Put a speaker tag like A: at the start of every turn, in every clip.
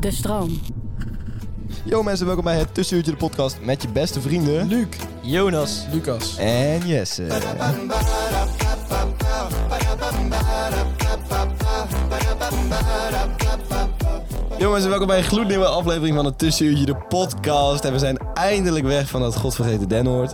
A: De stroom.
B: Yo mensen, welkom bij het Tussenuurtje de podcast met je beste vrienden... Luc, Jonas
C: Lucas.
B: en Jesse. Yo mensen, welkom bij een gloednieuwe aflevering van het Tussenuurtje de podcast. En we zijn eindelijk weg van dat godvergeten Denhoord.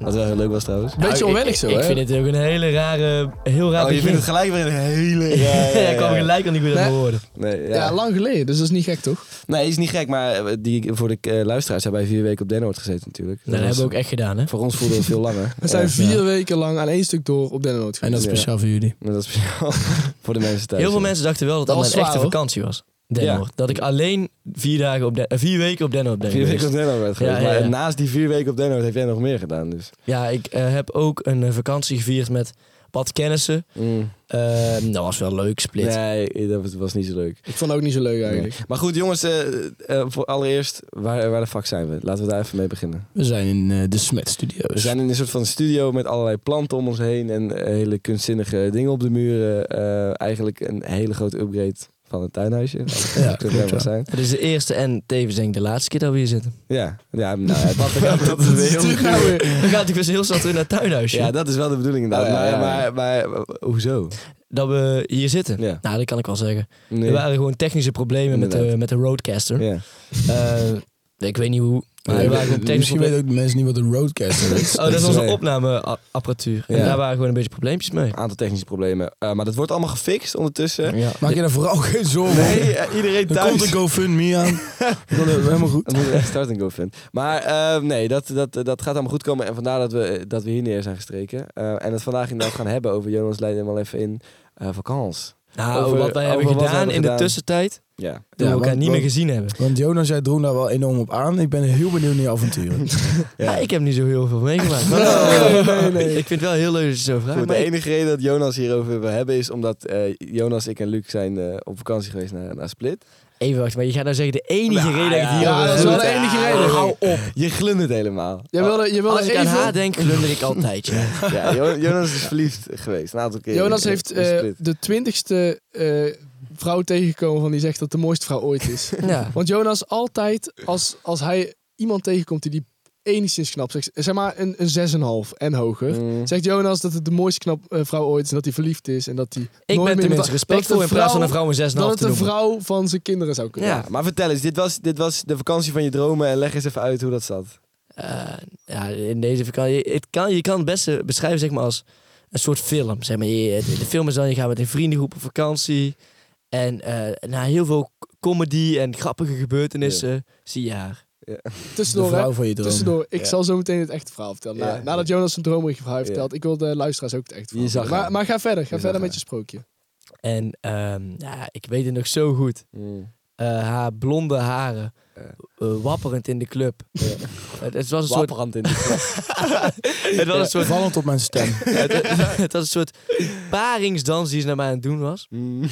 B: Wat wel heel leuk was trouwens.
C: Beetje
D: Nou,
C: onwennig
D: ik,
C: zo,
D: ik,
C: hè?
D: Ik vind het ook een hele rare, heel raar
B: Oh, je vindt
D: begin.
B: het gelijk weer een hele... Ja,
D: ja, ik kwam gelijk al niet meer aan
C: Nee.
D: het horen.
B: Nee,
C: ja.
B: ja.
C: lang geleden, dus dat is niet gek, toch?
B: nee, is niet gek, maar eh, die, voor de eh, luisteraars hebben wij vier weken op Denhoord gezeten natuurlijk.
D: Nou, dat
B: was-
D: hebben we ook echt gedaan, hè?
B: Voor ons voelde het veel langer.
C: We zijn
B: Ja.
C: vier weken lang aan één stuk door op Dennoot
D: En dat is
B: Ja.
D: speciaal voor jullie.
B: Maar dat is speciaal voor de mensen thuis.
D: Heel veel
B: ja.
D: mensen dachten wel dat
C: Dat
D: dat
C: was
D: mijn
C: zwaar,
D: echte
C: hoor.
D: vakantie was. Den
B: Ja.
D: Hoor. Dat ik alleen vier, dagen op Den- eh, vier weken op Den Hoor ben
B: Vier
D: geweest.
B: weken op Denno werd geweest.
D: Ja, ja, ja.
B: Maar naast die vier weken op Denno heb jij nog meer gedaan. Dus.
D: Ja, ik eh, heb ook een eh, vakantie gevierd met wat kennissen. Eh, dat was wel leuk, split.
B: Nee, eh, dat was- was niet zo leuk.
C: Ik vond het ook niet zo leuk eigenlijk.
B: Maar goed, jongens, eh, eh, voor allereerst, waar, waar de fuck zijn we? Laten we daar even mee beginnen.
D: We zijn in eh, de Smet Studios.
B: We zijn in een soort van studio met allerlei planten om ons heen en eh, hele kunstzinnige dingen op de muren. Eh, eigenlijk een hele grote upgrade van het tuinhuisje.
D: Ja,
B: Dat
D: klopt,
B: kunnen we
D: ja.
B: wel zijn.
D: Het is de eerste en tevens denk ik de laatste keer dat we hier zitten.
B: Ja, ja, nou, ja, dat, dat, dat is
C: Terug
B: heel...
C: nou weer.
D: Dan gaat ik dus heel snel terug naar het tuinhuisje.
B: Ja, dat is wel de bedoeling inderdaad.
C: Oh, ja, ja, ja.
B: Maar, maar, maar eh, hoezo?
D: Dat we hier zitten.
B: Ja.
D: Nou, dat kan ik wel zeggen.
B: Nee.
D: Er waren gewoon technische problemen met de,
B: Inderdaad.
D: met de Roadcaster.
B: Ja.
D: Eh, ik weet niet hoe. Maar
B: Nee,
D: er waren gewoon technische
E: Misschien
D: problemen.
E: weten ook de mensen niet wat een roadcaster is.
D: Oh, dat is
B: Nee.
D: onze opnameapparatuur. En
B: Ja.
D: daar waren gewoon een beetje probleempjes mee.
B: aantal technische problemen. Eh, maar dat wordt allemaal gefixt ondertussen.
D: Ja.
E: Maak je daar vooral geen zorgen
B: Nee,
E: om.
B: eh, iedereen
E: Oh. Er komt
B: thuis.
E: een GoFundMe aan. Ik wil het helemaal goed.
B: Dan moet je echt start en go vinden. Maar eh, nee, dat, dat, dat gaat allemaal goed komen. En vandaar dat we, dat we hier neer zijn gestreken. Eh, en het vandaag inderdaad gaan hebben over Jonas Leiden helemaal even in eh vakantie.
D: Nou,
B: Over-
D: wat wij hebben
B: over wat
D: gedaan
B: we hebben
D: in
B: gedaan.
D: de tussentijd,
B: Ja.
D: toen we
E: Ja,
D: elkaar
E: want-
D: niet meer
E: want-
D: gezien hebben.
E: Want Jonas, jij droeg daar wel enorm op aan. Ik ben heel benieuwd naar je avonturen.
D: Ja. ik heb niet zo heel veel meegemaakt. Ik vind het wel heel leuk dat je zo vraagt.
B: Goed, de
D: maar ik-
B: enige reden dat Jonas hierover wil hebben is omdat eh, Jonas, ik en Luc zijn eh, op vakantie geweest naar, naar Split.
D: Even wachten, maar je gaat nou zeggen de enige
B: Nou,
D: reden dat ik
B: ja,
D: hier
C: Ja,
D: over
C: dat is wel
D: heb.
C: de enige reden.
D: Hou op.
B: Je glundert het helemaal.
C: Jij wilde, je wilde
D: Als ik aan
C: even...
D: haar denk, glunder ik altijd. Ja.
B: Ja, Jo- Jonas is verliefd geweest een aantal keer.
C: Jonas
B: in-
C: heeft
B: in
C: eh,
B: Split.
C: de twintigste eh, vrouw tegengekomen van die zegt dat de mooiste vrouw ooit is.
D: Ja.
C: Want Jonas altijd, als, als hij iemand tegenkomt die die enigszins knap zegt, zeg maar een, een 6,5 en
E: eh,
C: hoger,
B: Mm.
C: zegt Jonas dat het de mooiste knap, eh, vrouw ooit is en dat hij verliefd is en dat hij
D: Ik
C: nooit
D: ben
C: meer
D: tenminste
C: dat- dat
D: respectvol
C: de
D: in plaats van een vrouw een 6,5
C: dat het
D: te
C: een
D: noemen.
C: vrouw van zijn kinderen zou kunnen.
B: Ja, maar vertel eens, dit was, dit was de vakantie van je dromen en leg eens even uit hoe dat zat.
D: Eh, ja, in deze vakantie. je- Het kan, je kan het beste beschrijven zeg maar, als een soort film. Zeg maar. je, de, de film is dan, je gaat met een vriendengroep op vakantie. En eh, na heel veel k- comedy en grappige gebeurtenissen zie je haar.
E: De
C: Tussendoor, hè?
E: vrouw van je droom.
C: Tussendoor, ik
B: Ja.
C: zal zo meteen het echte verhaal vertellen. Na-
B: Ja.
C: nadat Jonas zijn dromerige verhaal heeft
B: Ja.
C: verteld, ik wil de luisteraars ook het echte verhaal
B: Je zag
C: vertellen. maar,
B: haar.
C: maar ga verder, ga
B: zag
C: verder
B: haar.
C: met je sprookje.
D: En ehm, ja, ik weet het nog zo goed.
B: Mm.
D: Eh, haar blonde haren. eh, wapperend in de club. Het, het was een soort...
B: Wapperand in de
D: Het was een soort,
E: Vallend op mijn stem.
D: het, het was een soort paringsdans die ze naar mij aan het doen was.
B: Mm.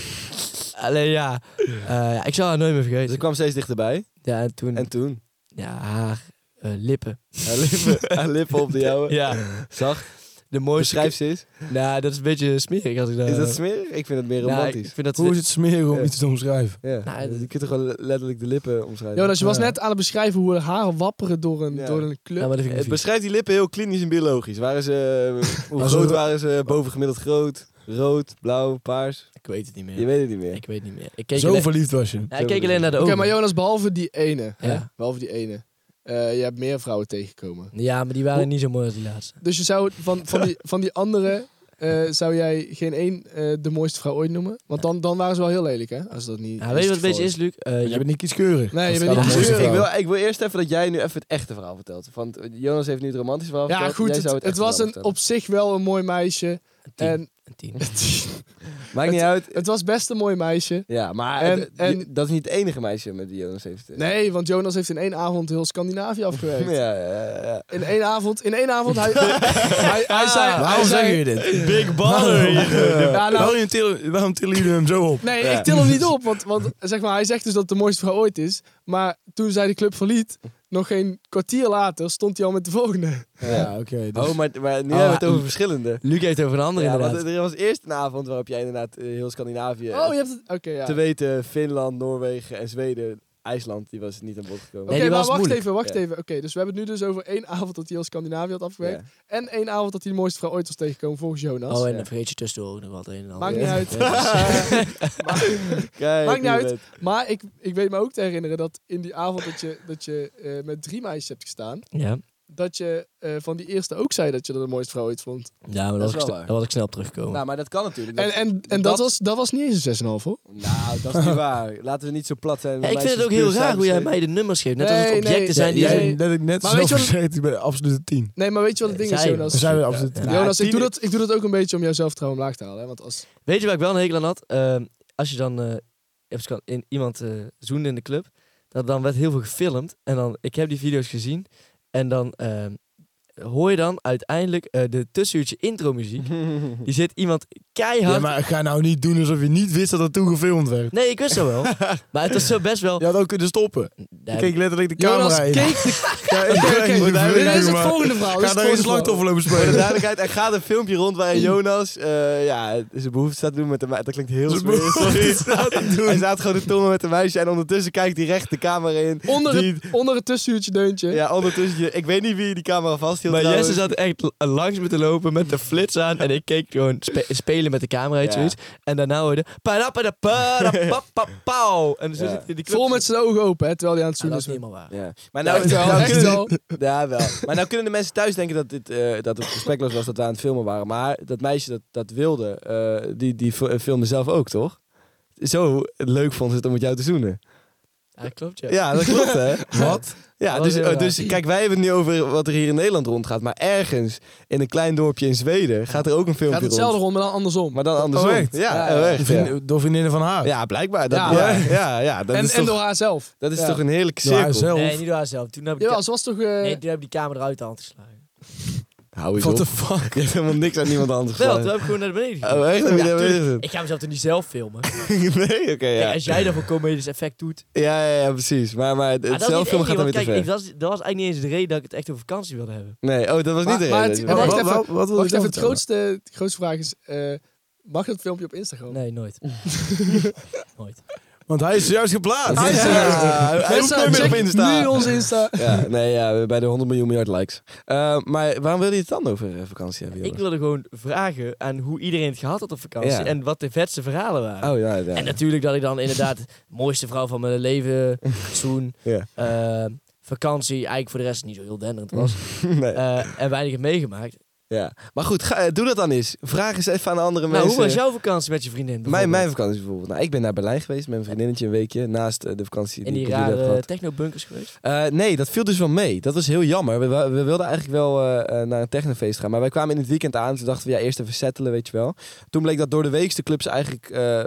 D: Alleen ja, eh, ja, ik zal haar nooit meer
B: Ze
D: vergeten.
B: kwam steeds dichterbij.
D: Ja, en toen...
B: En toen?
D: Ja, haar eh, lippen.
B: Haar lippen, haar lippen op de jouwe.
D: Ja,
B: Zag.
D: de mooiste...
B: Beschrijf ze eens.
D: Nou, dat is een beetje smerig als ik dat...
B: Is dat smerig? Ik vind het meer
D: Nou,
B: romantisch.
D: ik vind dat...
E: Hoe is het smerig om
B: Ja.
E: iets te omschrijven?
B: Ja.
D: Nou,
B: je kunt toch gewoon letterlijk de lippen omschrijven.
C: Jonas, je was
E: Ja.
C: net aan het beschrijven hoe haar wapperen door een,
B: Ja.
C: door een club.
D: Ja, Nou, maar dat vind ik
B: Het
D: niet vies.
B: beschrijft die lippen heel klinisch en biologisch. Waren ze, eh, hoe
E: Maar zo-
B: groot waren ze? Boven gemiddeld groot? Rood, blauw, paars.
D: Ik weet het niet meer.
B: Je weet het niet meer.
D: Ik weet het niet meer. Ik keek,
E: Zo
D: alleen,
E: verliefd was je.
D: Ja, ik keek alleen naar de
C: Oké,
D: ogen.
C: maar Jonas, behalve die ene. Hè?
D: Ja.
C: Behalve die ene. eh, je hebt meer vrouwen tegengekomen.
D: Ja, maar die waren niet zo mooi als die laatste.
C: Dus je zou van, van, die, van die andere... eh, zou jij geen één eh, de mooiste vrouw ooit noemen? Want dan, dan waren ze wel heel lelijk, hè? Als dat niet...
D: Ja, Nou, weet je wat
C: het
D: het beetje
C: geval
D: is, Luc? Eh,
E: Je
D: je-
E: bent niet kieskeurig.
C: Nee, je
E: Als
C: bent
E: het
C: niet
E: gaat om mooiste
C: kieskeurig.
B: ik, wil,
E: vrouwen.
B: ik wil eerst even dat jij nu even het echte verhaal vertelt. Want Jonas heeft nu het romantische verhaal
C: Ja,
B: verteld.
C: goed.
B: jij
C: Het,
B: zou
C: het
B: echte
C: was
B: verhaal
C: een, op zich wel een mooi meisje.
D: een tien.
C: En
D: Een tien.
B: vertellen. Maakt niet uit.
C: het was best een mooi meisje.
B: Ja, maar
C: En-
B: het-
C: en-
B: je- dat is niet het enige meisje met die Jonas heeft. eh,
C: Nee, want Jonas heeft in één avond heel Scandinavië afgewerkt.
B: Ja, ja, ja, ja. Ah,
C: In één avond, in één avond, hij, hij, hij zei... hij
E: Waarom
C: zei-
E: zeg je dit?
D: Big baller.
C: Ja, nou,
E: Waarom tillen- Waarom tillen jullie hem zo op?
C: Nee,
B: Ja.
C: ik til hem niet op. Want, want zeg maar, hij zegt dus dat het de mooiste vrouw ooit is. Maar toen zij de club verliet, nog geen kwartier later, stond hij al met de volgende.
E: Ja, oké. dus-
B: Oh, maar, maar nu
C: Ah,
B: hebben
D: Oh,
B: we het
D: ja.
B: over verschillende.
D: Luc heeft over een andere
B: Ja, want
D: inderdaad.
B: er was eerst een avond waarop jij inderdaad eh, heel Scandinavië...
C: Oh, je hebt het. Oké, ja.
B: Te weten Finland, Noorwegen en Zweden. IJsland, die was niet aan bod gekomen.
C: Oké,
D: Nee, die
C: maar
D: was
C: wacht
D: moeilijk.
C: even, wacht
B: Ja.
C: even. Oké, dus we hebben het nu dus over één avond dat hij al Scandinavië had
B: Ja.
C: afgewerkt. En één avond dat hij de mooiste vrouw ooit was tegengekomen, volgens Jonas.
D: Oh, en
B: ja.
D: dan vergeet je tussendoor ook nog wat een en ander.
C: Maakt niet
D: Ja.
C: uit.
B: Kijk,
C: Maakt niet
B: wie
C: uit.
B: weet.
C: maar ik, ik weet me ook te herinneren dat in die avond dat je, dat je eh, met drie meisjes hebt gestaan,
D: Ja.
C: dat je eh, van die eerste ook zei dat je dat de mooiste vrouw ooit vond.
D: Ja, maar
B: Dat
D: dat
B: is
D: was, ik,
B: wel
D: sne-
B: waar.
D: daar was ik snel op teruggekomen.
B: Nou, maar dat kan natuurlijk.
C: En,
B: Dat-
C: en, en dat,
B: dat-
C: was, dat was niet eens een 6,5 hoor.
B: Nou, dat is niet waar. Laten we niet zo plat zijn.
D: Ja, ik vind
B: Meisjes
D: het ook heel
B: puur
D: raar hoe jij
B: samen
D: mij de nummers geeft. Net als
C: Nee,
D: het objecten
C: nee.
D: zijn die...
C: Ja,
E: Jij,
D: zo-
C: nee.
E: dat ik net
C: Maar
E: zo
C: weet je wat-
E: gezegd, ik ben absoluut 10.
C: Nee, maar weet je wat het ding is,
D: Zij-
C: Jonas?
E: Dan zijn we absoluut
D: Ja.
E: tien.
C: Jonas, ik
E: tien-
C: doe, dat, ik doe dat ook een beetje om jouw zelfvertrouwen omlaag te halen. Hè? Want als,
D: Weet je waar ik wel een hekel aan had? Ehm, als je dan eh, even kan- in, iemand eh, zoende in de club, dat, dan werd heel veel gefilmd. En dan, ik heb die video's gezien. En dan ehm, hoor je dan uiteindelijk eh, de tussenuurtje intro muziek. Die zit iemand keihard...
E: Ja, maar ga nou niet doen alsof je niet wist dat dat toen gefilmd werd.
D: Nee, ik wist dat wel. maar het was zo best wel...
E: Je had ook kunnen stoppen.
D: Nee,
E: Ik keek letterlijk de
C: Jonas
E: camera in.
C: keek
E: Ja, ik-
C: Oké, oké,
E: ik-
C: maar
E: ik-
C: dit is
E: ik-
C: Dus het volgende verhaal, dit
E: Ga
C: is
E: daar
C: het
E: geen
C: volgende
E: slachtoffer lopen
B: Voor de
E: spelen.
B: duidelijkheid, er gaat een filmpje rond waarin Jonas eh, ja, zijn behoefte staat te doen met de meisje. Dat klinkt heel
E: Zijn
B: smerig.
E: behoefte
B: Sorry. Hij staat gewoon te tongen met een meisje en ondertussen kijkt hij recht de camera in.
C: onder
B: die,
C: het, onder het tussenuurtje deuntje.
B: Ja, ondertussen. je- Ik weet niet wie die camera vasthield.
D: Maar
B: trouwens.
D: Jesse zat echt l- langs me te lopen met de flits aan. En ik keek gewoon spe- spelen met de camera iets
B: Ja.
D: zoiets. En daarna hoorde... Parapapapapapau. En zo
B: Ja.
D: zit hij in die club.
C: Vol met zijn ogen open, hè, terwijl hij aan het
D: Ja,
C: zoenen
D: dat
C: is.
D: is niet helemaal waar.
B: Ja. Maar
C: Ja,
B: nou,
C: echt wel,
B: nou
C: echt
B: kunnen,
C: wel.
B: Ja, wel. Maar nou kunnen de mensen thuis denken dat, dit, eh, dat het respectloos was dat we aan het filmen waren. Maar dat meisje dat, dat wilde, eh, die, die fi- filmde zelf ook, toch? Zo leuk vond ze het om met jou te zoenen.
D: Ja, klopt ja.
B: Ja, dat klopt, hè?
E: Wat?
B: Ja,
D: Dat
B: dus,
D: was heel
B: eh, dus kijk, wij hebben het nu over wat er hier in Nederland rondgaat. Maar ergens in een klein dorpje in Zweden gaat er ook een filmpje
C: Gaat hetzelfde
B: rond.
C: rond, maar dan andersom.
B: Maar dan andersom.
E: Oh, echt?
B: Ja,
C: Ja,
B: oh,
C: ja.
B: echt,
E: Vriend-
B: ja.
E: Door vriendinnen van haar.
B: Ja, blijkbaar. Dat,
C: Ja.
B: ja. Ja, ja, dat
C: en,
B: is,
C: en
B: toch,
C: door haarzelf.
B: dat is
C: Ja.
B: toch een heerlijke
E: Door
B: cirkel.
E: haarzelf.
D: Nee, niet door haarzelf. Toen heb ik,
C: Jawel, ze was toch... eh,
D: nee, toen heb ik die camera uit de hand geslagen.
B: Hou eens
E: What the
B: op.
E: fuck?
B: Je hebt helemaal niks aan iemand anders
D: Wel,
B: gedaan.
D: toen heb ik gewoon naar beneden gegaan.
B: Oh, echt? Heb je
D: Ja,
B: dat
D: tuurlijk.
B: weer gezien?
D: Ik ga mezelf toen niet zelf filmen.
B: nee, oké,
D: Kijk,
B: ja.
D: als jij daarvoor comedisch dus effect doet.
B: ja. Ja, ja, precies. Maar, maar het
D: Maar dat is niet
B: zelffilm
D: het
B: gaat dan
D: enige,
B: weer te
D: want kijk, ik-
B: ver.
D: dat was, dat was eigenlijk niet eens de reden dat ik het echt over vakantie wilde hebben.
B: Nee, oh, dat was niet
C: Maar-
B: de
C: maar
B: reden.
C: het-
B: Oh,
C: wacht
E: Wa-
C: even.
E: wa- Wat wil
C: Wacht
E: je dan
C: even, het
E: vertellen?
C: grootste, het grootste vraag is... eh, mag dat filmpje op Instagram?
D: Nee, nooit. nooit.
E: Want hij is juist geplaatst.
B: Hij is- Ja, hij hoeft
C: Mensen,
B: nooit meer op
C: check
B: Insta.
C: nu onze Insta.
B: Ja, nee, ja, bij de 100 miljoen miljard likes. Eh, maar waarom wilde je het dan over eh, vakantie hebben?
D: Ik
B: Jonas?
D: wilde gewoon vragen aan hoe iedereen het gehad had op vakantie.
B: Ja.
D: En wat de vetste verhalen waren.
B: Oh, ja, ja.
D: En natuurlijk dat ik dan inderdaad de mooiste vrouw van mijn leven, zoen,
B: Ja.
D: eh, vakantie, eigenlijk voor de rest niet zo heel denderend was.
B: Nee.
D: Eh, en weinig heb meegemaakt.
B: Ja, maar goed, ga, eh, doe dat dan eens. Vraag eens even aan andere
D: Nou,
B: mensen.
D: hoe was jouw vakantie met je vriendin?
B: mijn, mijn
D: bijvoorbeeld?
B: vakantie bijvoorbeeld. Nou, ik ben naar Berlijn geweest met mijn vriendinnetje een weekje. Naast eh, de vakantie die
D: In die
B: ik op jullie heb
D: rare
B: gehad.
D: technobunkers geweest?
B: Eh, nee, dat viel dus wel mee. Dat was heel jammer. We, wa- we wilden eigenlijk wel eh, eh, naar een technofeest gaan. Maar wij kwamen in het weekend aan. Toen dachten we, ja, eerst even settelen, weet je wel. Toen bleek dat door de week de clubs eigenlijk eh,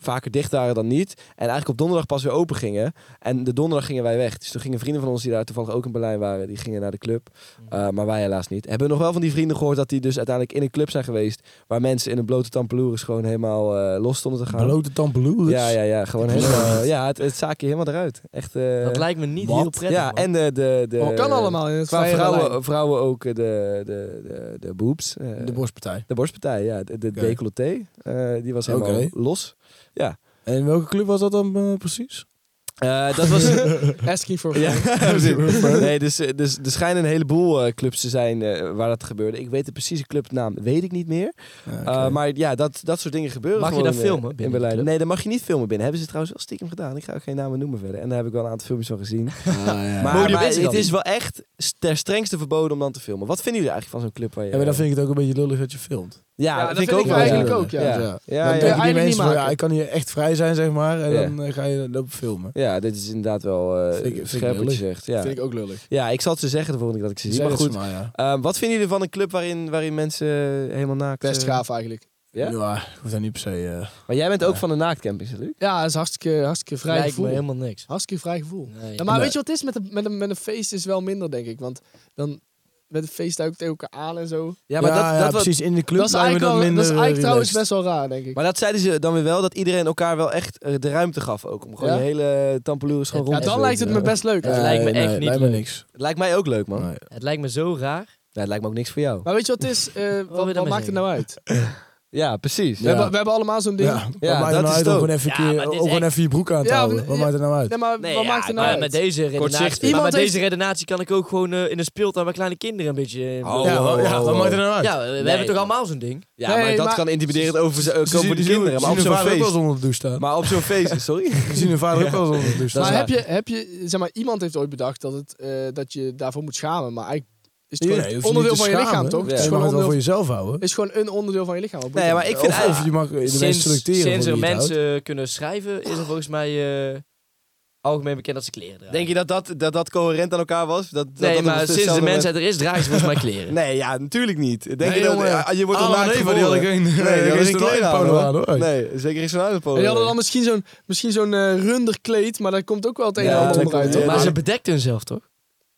B: vaker dicht waren dan niet. En eigenlijk op donderdag pas weer open gingen. En de donderdag gingen wij weg. Dus toen gingen vrienden van ons die daar toevallig ook in Berlijn waren, die gingen naar de club. Eh, maar wij helaas niet. Hebben we nog wel van die vrienden gehoord dat die dus uiteindelijk in een club zijn geweest. Waar mensen in een blote tampeloeres gewoon helemaal eh, los stonden te gaan.
E: Blote tampeloers.
B: Ja, ja, ja. Gewoon
E: Blote.
B: helemaal. Ja, het, het zaakje helemaal eruit. Echt. eh,
D: Dat lijkt me niet
E: wat?
D: heel prettig.
B: ja,
D: man.
B: en de... de, de
C: kan allemaal in het
B: Qua
C: vrije
B: vrouwen,
C: Berlijn.
B: vrouwen ook eh, de, de, de, de boobs. eh,
E: De borstpartij.
B: de borstpartij, ja. De, de
E: Oké.
B: décolleté. eh, die was helemaal
E: Oké.
B: los.
E: En welke club was dat dan eh, precies?
B: Eh, dat was,
C: Asking for
B: Ja,
C: friends.
B: precies. nee, dus, eh, dus er schijnen een heleboel eh, clubs te zijn eh, waar dat gebeurde. Ik weet de precieze clubnaam, weet ik niet meer. Eh, maar ja, dat, dat soort dingen gebeuren
D: Mag je
B: gewoon,
D: daar
B: eh,
D: filmen
B: in
D: binnen de
B: Berlijn.
D: club?
B: Nee, dat mag je niet filmen binnen. Hebben ze trouwens wel stiekem gedaan. Ik ga ook geen namen noemen verder. En daar heb ik wel een aantal filmpjes van gezien. Maar,
D: Mogen die
B: maar
D: mensen
B: het
D: dan?
B: is wel echt s- ter strengste verboden om dan te filmen. Wat vinden jullie eigenlijk van zo'n club waar je...
E: Ja, maar dan vind ik het ook een beetje lullig dat je filmt.
B: Ja,
C: Ja,
B: dat
C: dat
B: vind ik
C: vind
B: ook
C: ik
B: wel,
C: eigenlijk ook, ja.
B: Ja,
E: Dan
B: Ja,
E: denken
B: ja.
E: die
C: Eigenlijk niet
E: mensen van, ja,
C: maken.
E: ik kan hier echt vrij zijn, zeg maar. En
B: Ja.
E: dan eh, ga je lopen filmen.
B: Ja, dit is inderdaad wel eh,
E: Vind ik- vind ik
B: scherp wat
E: lullig.
B: je zegt. Ja.
C: Vind ik ook lullig.
B: ja, ik zal het ze zeggen de volgende keer dat ik ze zie.
E: Zeg
B: Maar
E: het
B: goed,
E: ze ja.
B: eh, wat vinden jullie van een club waarin, waarin mensen helemaal naakt...
C: Best
B: eh,
C: gaaf eigenlijk.
B: Ja?
E: Ja? hoeft dat niet per se. eh.
B: Maar jij bent ook van de naaktcamping, hè, Luc?
C: Ja, dat is hartstikke, hartstikke vrij
D: Lijkt me
C: gevoel.
D: helemaal niks.
C: Hartstikke vrij gevoel.
D: Nee.
C: Ja, maar
E: Nee.
C: weet je wat het is? Met een, met, een, met een feest is wel minder, denk ik. Want dan met een feest duik ik tegen elkaar aan en zo.
B: Ja, maar dat, dat wat-
E: precies in de club
C: Dat is
E: lijkt me
C: eigenlijk,
E: dat
C: wel-
E: minder.
C: dat is eigenlijk
E: eh,
C: trouwens
E: relaxed.
C: best wel raar, denk ik.
B: Maar dat zeiden ze dan weer wel, dat iedereen elkaar wel echt eh, de ruimte gaf ook. Om gewoon
C: Ja?
B: de hele tampeloeren gewoon
D: Ja,
C: ja,
B: rond te
C: dan
B: zweten.
C: lijkt het me best leuk.
D: Ja.
E: Eh,
D: lijkt me echt
E: nee,
D: niet
E: Lijkt me
D: leuk.
E: niks.
B: Het lijkt mij ook leuk, man.
E: Nee.
D: Het lijkt me zo raar.
B: Ja, het lijkt me ook niks voor jou.
C: Maar weet je wat het is? Eh,
D: wil je
C: wat wat
D: daarmee
C: maakt het nou uit?
B: Ja, precies.
C: We, hebben, we hebben allemaal zo'n ding.
E: Ja,
C: Ja,
B: Ja,
E: ja maakt
B: dat
E: het nou
B: is
E: uit om
B: het ook.
E: gewoon even, een
D: Ja,
E: keer-
D: maar dit is
E: ook gewoon
D: echt-
E: even je broek aan te
C: Ja,
E: houden.
C: maar-
E: Wat maakt het nou uit?
C: nee, maar wat maakt het nou
D: maar
C: uit?
D: met deze
B: Kortzichtig.
D: redenatie, maar
C: Iemand
D: met
C: heeft-
D: deze redenatie kan ik ook gewoon eh, in een speeltuin waar kleine kinderen een beetje... eh,
B: Oh,
E: ja,
B: oh,
E: wat- ja,
B: oh,
E: wat
B: oh.
E: maakt het nou uit?
D: Ja, we, we hebben toch allemaal zo'n ding?
B: Ja,
C: Nee,
B: maar dat
C: maar-
B: kan intimiderend over ze- eh,
E: Ze
B: komen
E: zien-
B: voor die
E: ze zien-
B: kinderen. Maar
E: ze
B: op
E: zien
B: zo'n
E: hun vader ook wel
B: feest...
E: eens onder de douche staan.
B: Maar op zo'n feest, sorry.
E: Ze zien hun vader ook wel eens onder de douche
B: Dat is
E: staan.
C: maar
B: waar.
C: heb je, heb je, zeg maar, iemand heeft ooit bedacht dat, het, eh, dat je daarvoor moet schamen. Maar eigenlijk is het
E: Nee,
C: gewoon
E: je hoeft
C: het
E: je
C: onderdeel
E: niet te
C: van je lichaam,
E: schamen.
C: toch?
B: Ja.
C: Het is
E: Je
C: gewoon
E: mag
C: een
E: het wel voor jezelf
C: onderdeel-
E: houden.
C: is gewoon een onderdeel van je lichaam. Wat moet
B: Nee,
C: je
B: maar
C: dan?
B: ik vind
E: Of, of je mag de mensen selecteren.
D: sinds
E: voor
D: er
E: wie je het
D: mensen kunnen schrijven, is er volgens mij eh, algemeen bekend dat ze kleren dragen.
B: Denk je dat dat, dat, dat coherent aan elkaar was? Dat, dat
D: nee,
B: dat
D: maar
B: het
D: sinds de
B: hetzelfde
D: mensheid er is, dragen ze volgens mij kleren.
B: Nee, ja, natuurlijk niet. Denk
E: Nee,
B: je, dat,
E: jongen.
B: ja, je wordt
E: Adam
B: al
E: en Eva, die hadden geen-
B: Nee, die hadden geen kleren aan,
E: aan,
B: hoor.
E: hoor.
B: Nee, zeker geen
C: En die
B: sandalen
C: hadden dan misschien zo'n misschien zo'n eh, runder kleed, maar daar komt ook wel het een
B: Ja,
C: en ander
B: dat
C: onderuit.
B: komt-
C: hoor.
D: maar
B: Ja.
D: ze bedekten hunzelf, toch?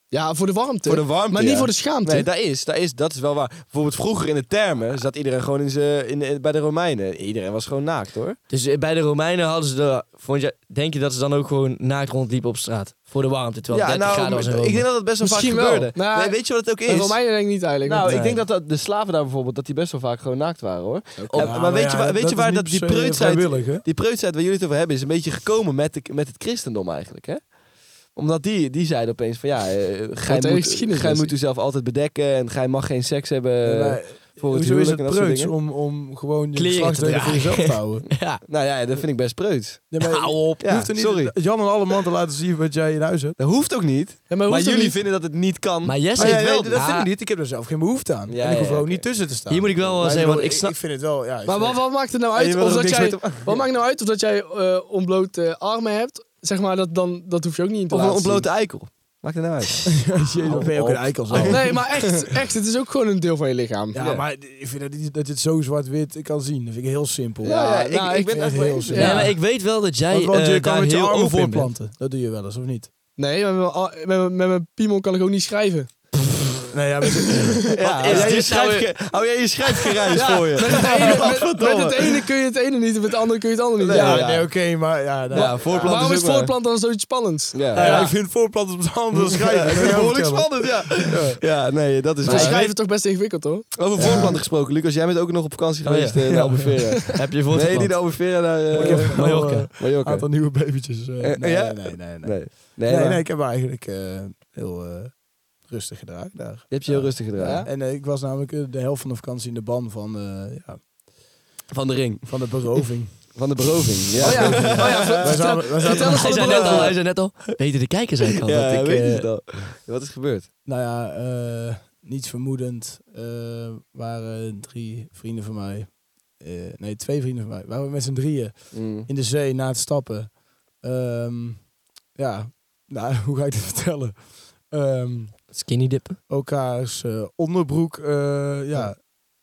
C: Ja, voor de warmte.
B: Voor de warmte,
C: Maar niet
B: ja.
C: voor de schaamte.
B: Nee, dat is, dat is, dat is wel waar. Bijvoorbeeld vroeger in de termen zat iedereen gewoon in z'n- in, in- bij de Romeinen. Iedereen was gewoon naakt hoor.
D: Dus eh, bij de Romeinen hadden ze de... Vond je, denk je dat ze dan ook gewoon naakt rondliepen op straat? Voor de warmte, terwijl het 30 graden was in Rome.
B: nou, ik denk dat dat best wel
C: Misschien
B: vaak
C: wel.
B: gebeurde.
C: Nou,
B: nee, weet je wat het ook
C: Maar
B: is?
C: voor mij denk ik niet eigenlijk.
B: Nou,
C: want- eh,
B: ik denk dat, dat de slaven daar bijvoorbeeld, dat die best wel vaak gewoon naakt waren hoor. En- Nou, maar,
E: maar
B: weet je,
E: ja,
B: waar- weet
E: dat
B: je
E: is
B: waar
E: niet
B: dat,
E: per
B: die
E: se, eh, vrijwillig, hè?
B: preutsheid, die preutsheid waar jullie het over hebben, is een beetje gekomen met, de, met het christendom eigenlijk hè? omdat die, die zeiden opeens van ja, eh, gij,
C: hele
B: moet,
C: geschiedenis
B: gij
C: is.
B: moet uzelf altijd bedekken en gij mag geen seks hebben
E: houdt.
B: eh,
E: Maar
B: voor het
E: Hoezo is
B: huwelijk
E: het
B: en dat soort
E: preuts
B: dingen.
E: om, om gewoon je
D: Kleren te
E: geslachtsdelen voor
D: dragen.
E: jezelf te houden?
D: Ja,
B: Nou ja, dat vind ik best preuts.
E: Ja, maar
D: hou op.
B: Ja,
E: je hoeft er niet
B: sorry.
E: Jan en alle man te laten zien wat jij in huis hebt.
B: Dat hoeft ook niet.
C: Ja,
B: Maar
C: hoeft dat
B: jullie
C: niet?
B: vinden dat het niet kan.
D: Maar Jesse
E: Maar ja,
D: heeft wel...
E: nee, dat vind
D: Ja,
E: ik niet. Ik heb er zelf geen behoefte aan.
B: Ja,
E: en ik hoef
B: ja,
E: er ook
B: oké.
E: niet tussen te staan.
D: Hier moet ik wel wel
E: Maar
D: zeggen, want
E: bedoel,
D: ik snap...
E: vind het wel... Ja, ik
C: Maar
E: vind
C: wat, wat maakt het nou uit?
B: je wil er
C: Of
B: ook
C: dat
B: niks
C: jij,
B: mee te-
C: wat maakt nou uit of dat jij eh, ontbloot eh, armen hebt? Zeg maar, dat, dan, dat hoef je ook niet in te
B: Of een
C: laten
B: ontblote eikel. Maakt het nou uit?
E: het- Jezus, dan ben je ook een eikel zo.
C: zien. Oh. Nee, maar echt, echt, het is ook gewoon een deel van je lichaam.
E: Ja,
B: Ja.
E: maar ik vind dat, niet- dat je het zo zwart-wit kan zien. Dat vind ik heel simpel.
C: Ja, ja,
E: ik,
C: nou,
E: ben
C: ik ben
E: echt
C: echt
E: heel
C: wel-
E: simpel.
D: Ja,
C: Ja.
D: maar ik weet wel dat jij
E: Want, want
D: eh,
E: je kan
D: daar
E: met je
D: heel
E: armen
D: open in bent.
E: voorplanten. Dat doe je wel eens, of niet?
C: Nee, met mijn, al- met, mijn- met mijn piemel kan ik ook niet schrijven.
E: Nee, ja, maar-
B: Ja,
D: is
B: hou jij je
D: dit nou
B: schrijfge- hou jij je schrijfgereis voor je?
C: Met het, ene, met,
B: Godverdomme.
C: met het ene kun je het ene niet en met het andere kun je het andere niet.
E: ja,
C: Ja,
E: nee, oké, maar... Ja, nou,
B: Ja, voorplant
C: Waarom is
B: ook maar-
C: voorplant dan zoiets spannends?
B: Ja,
E: Ja,
B: ja.
E: ik vind voorplanten op de hand wel
B: Ja, ik
E: schrijven.
B: vind het behoorlijk spannend, ja. Ja, nee, dat is
C: Ze
B: waar.
C: schrijven toch best ingewikkeld hoor. Oh
B: Over voorplanten gesproken, Lucas, jij bent ook nog op vakantie
D: Oh, ja.
B: geweest eh, naar
D: Ja.
B: Albufeira.
D: Heb je voor
B: Nee, niet naar Albufeira, naar eh,
E: Ik heb
D: Mallorca.
E: Mallorca. Een
B: Mallorca.
E: aantal nieuwe babytjes. eh,
B: Eh,
E: nee,
B: ja?
E: nee, nee, nee, nee.
B: Nee, nee,
E: Nee,
B: maar
E: nee, ik heb me eigenlijk eh, heel eh, rustig gedragen daar.
B: je hebt je heel rustig gedragen.
C: Ja.
E: En eh, ik was namelijk eh, de helft van de vakantie in de ban van, eh, ja,
B: Van de ring.
E: van de beroving.
B: Van de beroving. Ja,
C: Oh ja, oh ja
E: wij
C: vertel,
E: zaten, wij zaten-
C: vertel eens
D: Hij
C: van de
D: zei net al, hij
C: bedoeling.
D: zei net al. Weten de kijkers eigenlijk al
B: Ja,
D: dat ik...
B: weet je
D: eh,
B: het al. Wat is gebeurd?
E: nou ja, eh, niets vermoedend eh, waren drie vrienden van mij. eh, nee, twee vrienden van mij. Waren we met z'n drieën
B: Mm.
E: in de zee na het stappen. Ehm, ja, nou, hoe ga ik dit vertellen? Ehm,
D: Skinny dippen.
E: elkaars eh, onderbroek eh, ja,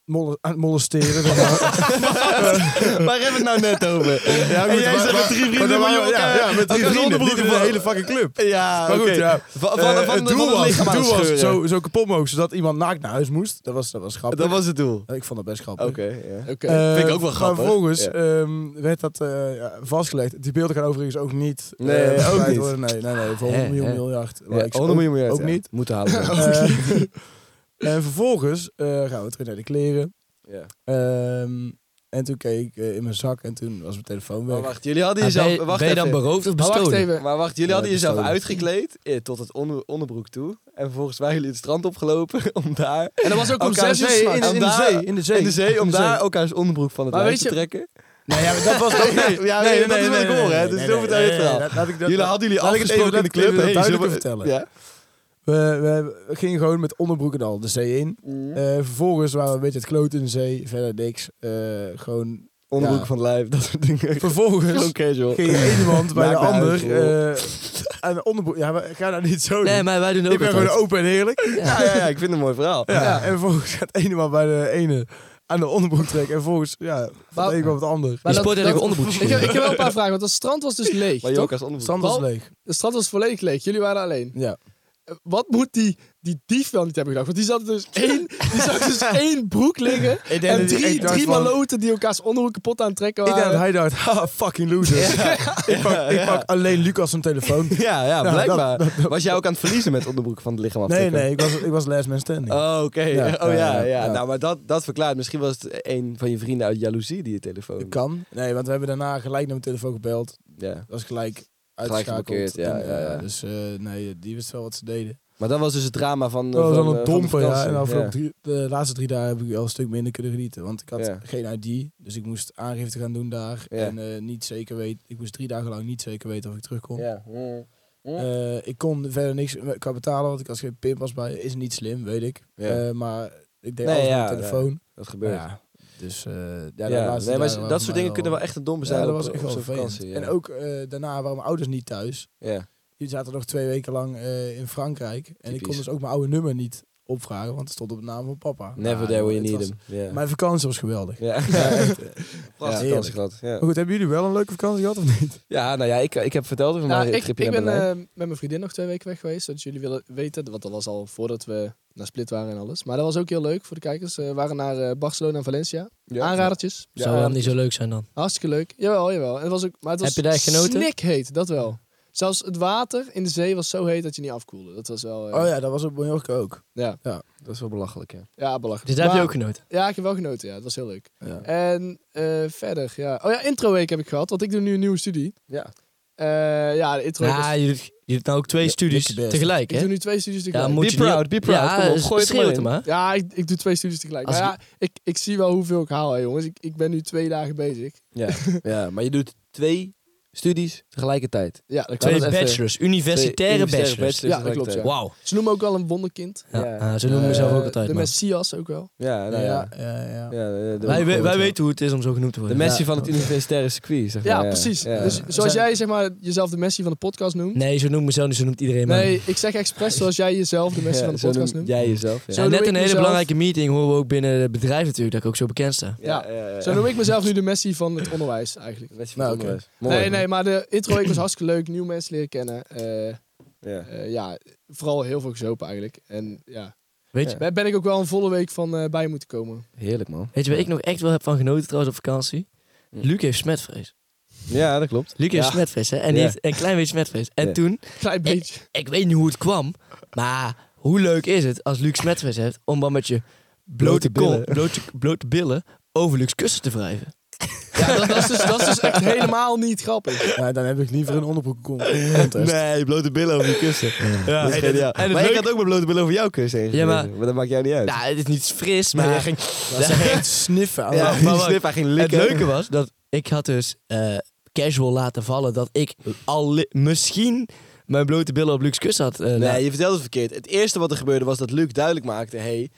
E: mol- aan het molesteren. zeg maar.
B: Waar hebben we het nou net over?
E: Ja,
B: En
E: goed,
B: jij
E: maar-
B: zegt
E: maar-
B: met drie vrienden
E: maar
B: van
E: dan
B: je
E: waren we-
B: elkaar-
E: Ja, ja, met drie
B: elkaars
E: vrienden.
B: onderbroeken
E: Dit is
B: van-
E: een hele fucking club.
B: Ja,
E: Maar goed,
B: oké.
E: ja.
B: Van, van,
E: Eh,
B: van,
E: het
B: van
E: doel
B: het
E: was,
B: lichaam
E: het doel was
B: aanscheuren.
E: zo, zo kapot mogelijk, zodat iemand naakt naar huis moest. Dat was, dat was grappig.
B: Dat was het doel.
E: Ik vond dat best grappig.
B: Oké, ja.
C: Oké.
E: Eh,
B: Vind ik ook wel grappig.
E: Maar vervolgens
B: Ja.
E: ehm, werd dat eh, ja, vastgelegd. Die beelden gaan overigens ook niet eh,
B: Nee, ook
E: verspreid
B: niet.
E: worden. Nee, nee, nee. Voor
D: Hè,
E: 100 miljoen
D: hè.
E: miljard.
B: Ja,
E: likes.
B: 100 miljoen miljard.
E: Ook
B: ja.
E: niet.
B: Moeten halen.
E: Eh, en vervolgens eh, gaan we terug naar de kleren.
B: Ja.
E: Ehm, En toen keek ik eh, in mijn zak en toen was mijn telefoon weg.
D: Oh,
B: Maar wacht, jullie hadden
D: Ah, ben,
B: jezelf...
D: je-
B: wacht
D: ben je dan
B: even.
D: beroofd of
C: Maar
D: bestolen?
C: wacht even.
B: Maar wacht, jullie
E: Ja,
B: hadden jezelf
E: pistolen.
B: uitgekleed eh, tot het onder- onderbroek toe. En vervolgens waren jullie het strand opgelopen om daar...
C: En dat was ook
D: Oh,
C: om
B: Elkaar
C: zes uur
B: zee
C: s'nachts.
B: in- in- de
E: Om daar-
B: zee,
E: In de
B: in de zee, om daar elkaars onderbroek van het
C: Maar
B: lijf
C: weet
B: te
C: je-
B: trekken.
E: Nee, ja, maar dat was ook...
B: Ja, nee, dat is wat ik hoor, hè. Dus zo vertel je het verhaal.
E: Laat ik dat...
B: Jullie hadden jullie
E: laat ik het
B: afgesproken in de
E: even- laat ik
B: club. hey,
E: het duidelijker
B: zullen we-
E: vertellen.
B: Ja.
E: We, we, we gingen gewoon met onderbroek en al de zee in.
B: Mhm.
E: Eh, vervolgens waren we een beetje het kloot in de zee. Verder niks. Eh, gewoon...
B: Onderbroek
E: Ja.
B: van het lijf, dat soort dingen.
E: Vervolgens
B: Gewoon casual.
E: ging de ene man bij de
B: Maakt me uit,
E: ander...
B: joh.
E: eh, aan de onderbroek... Ja, maar ga daar niet zo doen.
D: Nee, maar wij doen ook
E: ik ben gewoon
D: altijd.
E: open en eerlijk.
B: Ja, ja, ja, ik vind het een mooi verhaal.
E: Ja. En vervolgens gaat de ene man bij de ene aan de onderbroek trekken. En vervolgens, ja, van
C: Maar-
E: de een kwam het ander. Dus
C: Maar
D: Die
C: dat-
D: sport en ik
C: dat-
D: onderbroekjes.
C: Ik heb, ik heb wel een paar vragen, want het strand was dus leeg.
B: Maar je
C: toch?
B: ook als onderbroek.
E: Strand was
C: Bal-
E: leeg.
C: Het strand was volledig leeg. Jullie waren alleen.
E: Ja.
C: Eh, Wat moet die, die dief wel niet hebben gedacht? Want die zat dus één, die zag dus één broek liggen.
E: Ik denk
C: En
E: dat hij
C: drie,
E: echt dacht
C: drie
E: van-
C: maloten die elkaars onderhoek kapot aan het trekken
E: Ik denk dat
C: waren.
E: hij dacht, ha, fucking losers. ik, pak, ik pak alleen Lucas zijn telefoon.
B: Ja, ja,
E: Ja,
B: blijkbaar. was jij ook aan het verliezen met onderbroek van het lichaam
E: Nee,
B: aftrekken?
E: nee, ik was, ik was last man standing.
B: Oh, oké.
E: Ja,
B: oh ja, ja,
E: ja, ja.
B: Nou, maar dat, dat verklaart. Misschien was het een van je vrienden uit jaloezie die je telefoon...
E: Ik kan. Nee, want we hebben daarna gelijk naar mijn telefoon gebeld.
B: Ja.
E: Dat was gelijk
B: geblokkeerd,
E: uitgeschakeld.
B: ja,
E: En,
B: ja,
E: eh,
B: ja.
E: Dus eh, nee, die wist wel wat ze deden.
B: Maar dat was dus het drama van... eh,
E: Oh, Dat was
B: van,
E: wel
B: eh,
E: een
B: van de
E: domper, ja.
B: vakantie.
E: En afgelopen
B: Ja.
E: drie- de laatste drie dagen heb ik wel een stuk minder kunnen genieten. Want ik had
B: Ja.
E: geen ID, dus ik moest aangifte gaan doen daar.
B: Ja.
E: En eh, niet zeker weten, ik moest drie dagen lang niet zeker weten of ik terug kon.
B: Ja.
E: Eh, ik kon verder niks qua betalen, want ik had geen pinpas bij. Is niet slim, weet ik.
B: Ja.
E: Eh, maar ik deed
B: Nee,
E: alles
B: ja,
E: met mijn telefoon.
B: Dat
E: Ja.
B: gebeurt. Ja.
E: Dus eh, ja, de
B: nee,
E: laatste
B: maar
E: dagen waren
B: dat
E: voor mij
B: soort dingen kunnen wel echt een domper zijn
E: ja, dat
B: op, eh,
E: was echt
B: op zo'n
E: wel vervelend.
B: vakantie. ja.
E: En ook eh, daarna waren mijn ouders niet thuis.
B: Ja.
E: Die zaten nog twee weken lang eh, in Frankrijk. En ik kon
B: Typisch.
E: dus ook mijn oude nummer niet opvragen, want het stond op de naam van papa.
B: Never
E: Nou,
B: there when you
E: het
B: need him.
E: was-
B: Ja.
E: Mijn vakantie was geweldig.
B: Ja.
E: echt, eh.
B: Prachtige
E: heerlijk.
B: vakantie gehad. Ja.
E: Maar goed, hebben jullie wel een leuke vakantie gehad of niet?
B: Ja, nou ja, ik, ik heb verteld over
C: Nou,
B: mijn
C: ik, ik
B: tripje naar
C: ben
B: Berlijn.
C: eh, met mijn vriendin nog twee weken weg geweest, zodat jullie willen weten. Want dat was al voordat we naar Split waren en alles. Maar dat was ook heel leuk voor de kijkers. Eh, we waren naar eh, Barcelona en Valencia.
B: Ja.
C: Aanradertjes.
B: Ja,
D: Zou Oh, dat
B: ja.
D: niet zo leuk zijn dan?
C: Hartstikke leuk. Jawel, jawel. En het was ook, maar het was
D: Heb je daar genoten?
C: heet, dat wel. Zelfs het water in de zee was zo heet dat je niet afkoelde. Dat was wel... eh,
E: Oh ja, dat was op Mallorca ook.
C: ja.
B: Dat is wel belachelijk, ja.
C: Ja, belachelijk.
D: Dus daar heb
B: Nou.
C: Maar-
D: je ook genoten.
C: Ja, ik heb wel genoten. Ja, het was heel leuk.
E: Ja.
C: En eh, verder, ja. Oh ja, introweek heb ik gehad, want ik doe nu een nieuwe studie.
B: Ja.
C: Eh, ja, de introweek
D: Ja,
C: was-
D: je doet, je doet nou ook twee studies
E: dikke best.
D: tegelijk,
C: Ik doe
D: hè?
C: nu twee studies tegelijk.
D: Ja,
C: Ja,
D: moet
B: Be
D: je niet-
B: proud, be proud.
D: Ja,
B: Kom op, gooi het er
D: schreeuw
B: maar in.
D: maar.
C: ik, ik doe twee studies tegelijk.
D: Als
C: Maar ja, ik, ik zie wel hoeveel ik haal, hè, jongens. Ik, ik ben nu twee dagen bezig.
B: Ja. ja, maar je doet twee studies tegelijkertijd.
C: Ja, dat
B: Twee
C: klopt.
D: Twee
B: was even-
D: bachelors, universitaire bachelors.
C: Ja, dat klopt, ja.
D: Wauw.
C: Ze noemen me ook wel een wonderkind.
D: Ja,
B: Ja.
D: ah, zo noemen we
C: Eh,
D: zelf ook altijd,
C: De
D: man.
C: Messias ook wel.
B: Ja, nou ja.
E: ja, ja, ja.
B: Ja, eh, de- de-
D: Wij,
B: de-
D: wij, wij weten hoe het is om zo genoemd te
B: De
D: worden.
B: Messi
E: Ja.
B: van het universitaire circuit, zeg maar.
C: Ja, precies.
B: Ja.
C: Dus
E: Zijn-
C: zoals jij zeg maar, jezelf de Messi van de podcast noemt.
D: Nee, zo noemt mezelf niet, zo noemt iedereen mij.
C: Nee, ik zeg expres zoals jij jezelf de Messi
B: Ja,
C: van de
B: zo
C: podcast
B: noem
C: noemt.
B: Jij jezelf, ja.
D: Ja,
C: Zo doe
D: net
C: ik
D: een hele
C: mezelf-
D: belangrijke meeting horen we ook binnen het bedrijf natuurlijk, dat ik ook zo bekend sta.
C: Ja. Zo noem ik mezelf nu de Messi van het onderwijs eigenlijk.
B: Messi van
E: Nou,
B: het
E: oké.
B: onderwijs. Mooi.
C: Nee, nee, maar de introweek was hartstikke leuk. Nieuwe mensen leren kennen. Eh,
B: Ja.
C: eh, ja, vooral heel veel gezopen eigenlijk. En ja,
D: Weet je,
C: daar ben ik ook wel een volle week van eh, bij moeten komen.
B: Heerlijk, man.
D: weet je waar ik nog echt wel heb van genoten trouwens op vakantie? Luc heeft smetvrees.
B: Ja, dat klopt.
D: Luc heeft
C: Hm. Ja.
D: smetvrees, hè? En die
B: Ja.
D: heeft een klein beetje smetvrees. En
B: Ja.
D: toen,
C: Klein beetje.
D: ik weet niet hoe het kwam, maar hoe leuk is het als Luc smetvrees heeft om dan met je blote,
B: Blote billen.
D: kont, blote, blote billen over Lucs kussen te wrijven.
C: Ja, dat, dat is dus, dat is dus echt helemaal niet grappig.
E: Ja, dan heb ik liever een onderbroek contest.
B: Nee, blote billen over je kussen.
D: Ja,
B: dat is geniaal.
D: en het
B: maar ik
D: leuke-
B: had ook mijn blote billen over jouw kussen heen.
D: Ja, maar-
B: gereden. dat maakt jou niet uit.
D: Nou, het is niet fris,
E: Maar
D: maar...
E: jij ging, dat ze echt sniffen aan
B: Ja,
E: ja.
D: maar- maar-
B: die snip, hij ging
D: Het
B: likken.
D: leuke was dat ik had dus eh, casual laten vallen dat ik al li- misschien mijn blote billen op Lucs kussen had. eh, laten-
B: Nee, je vertelde het verkeerd. Het eerste wat er gebeurde was dat Luc duidelijk maakte... Hey,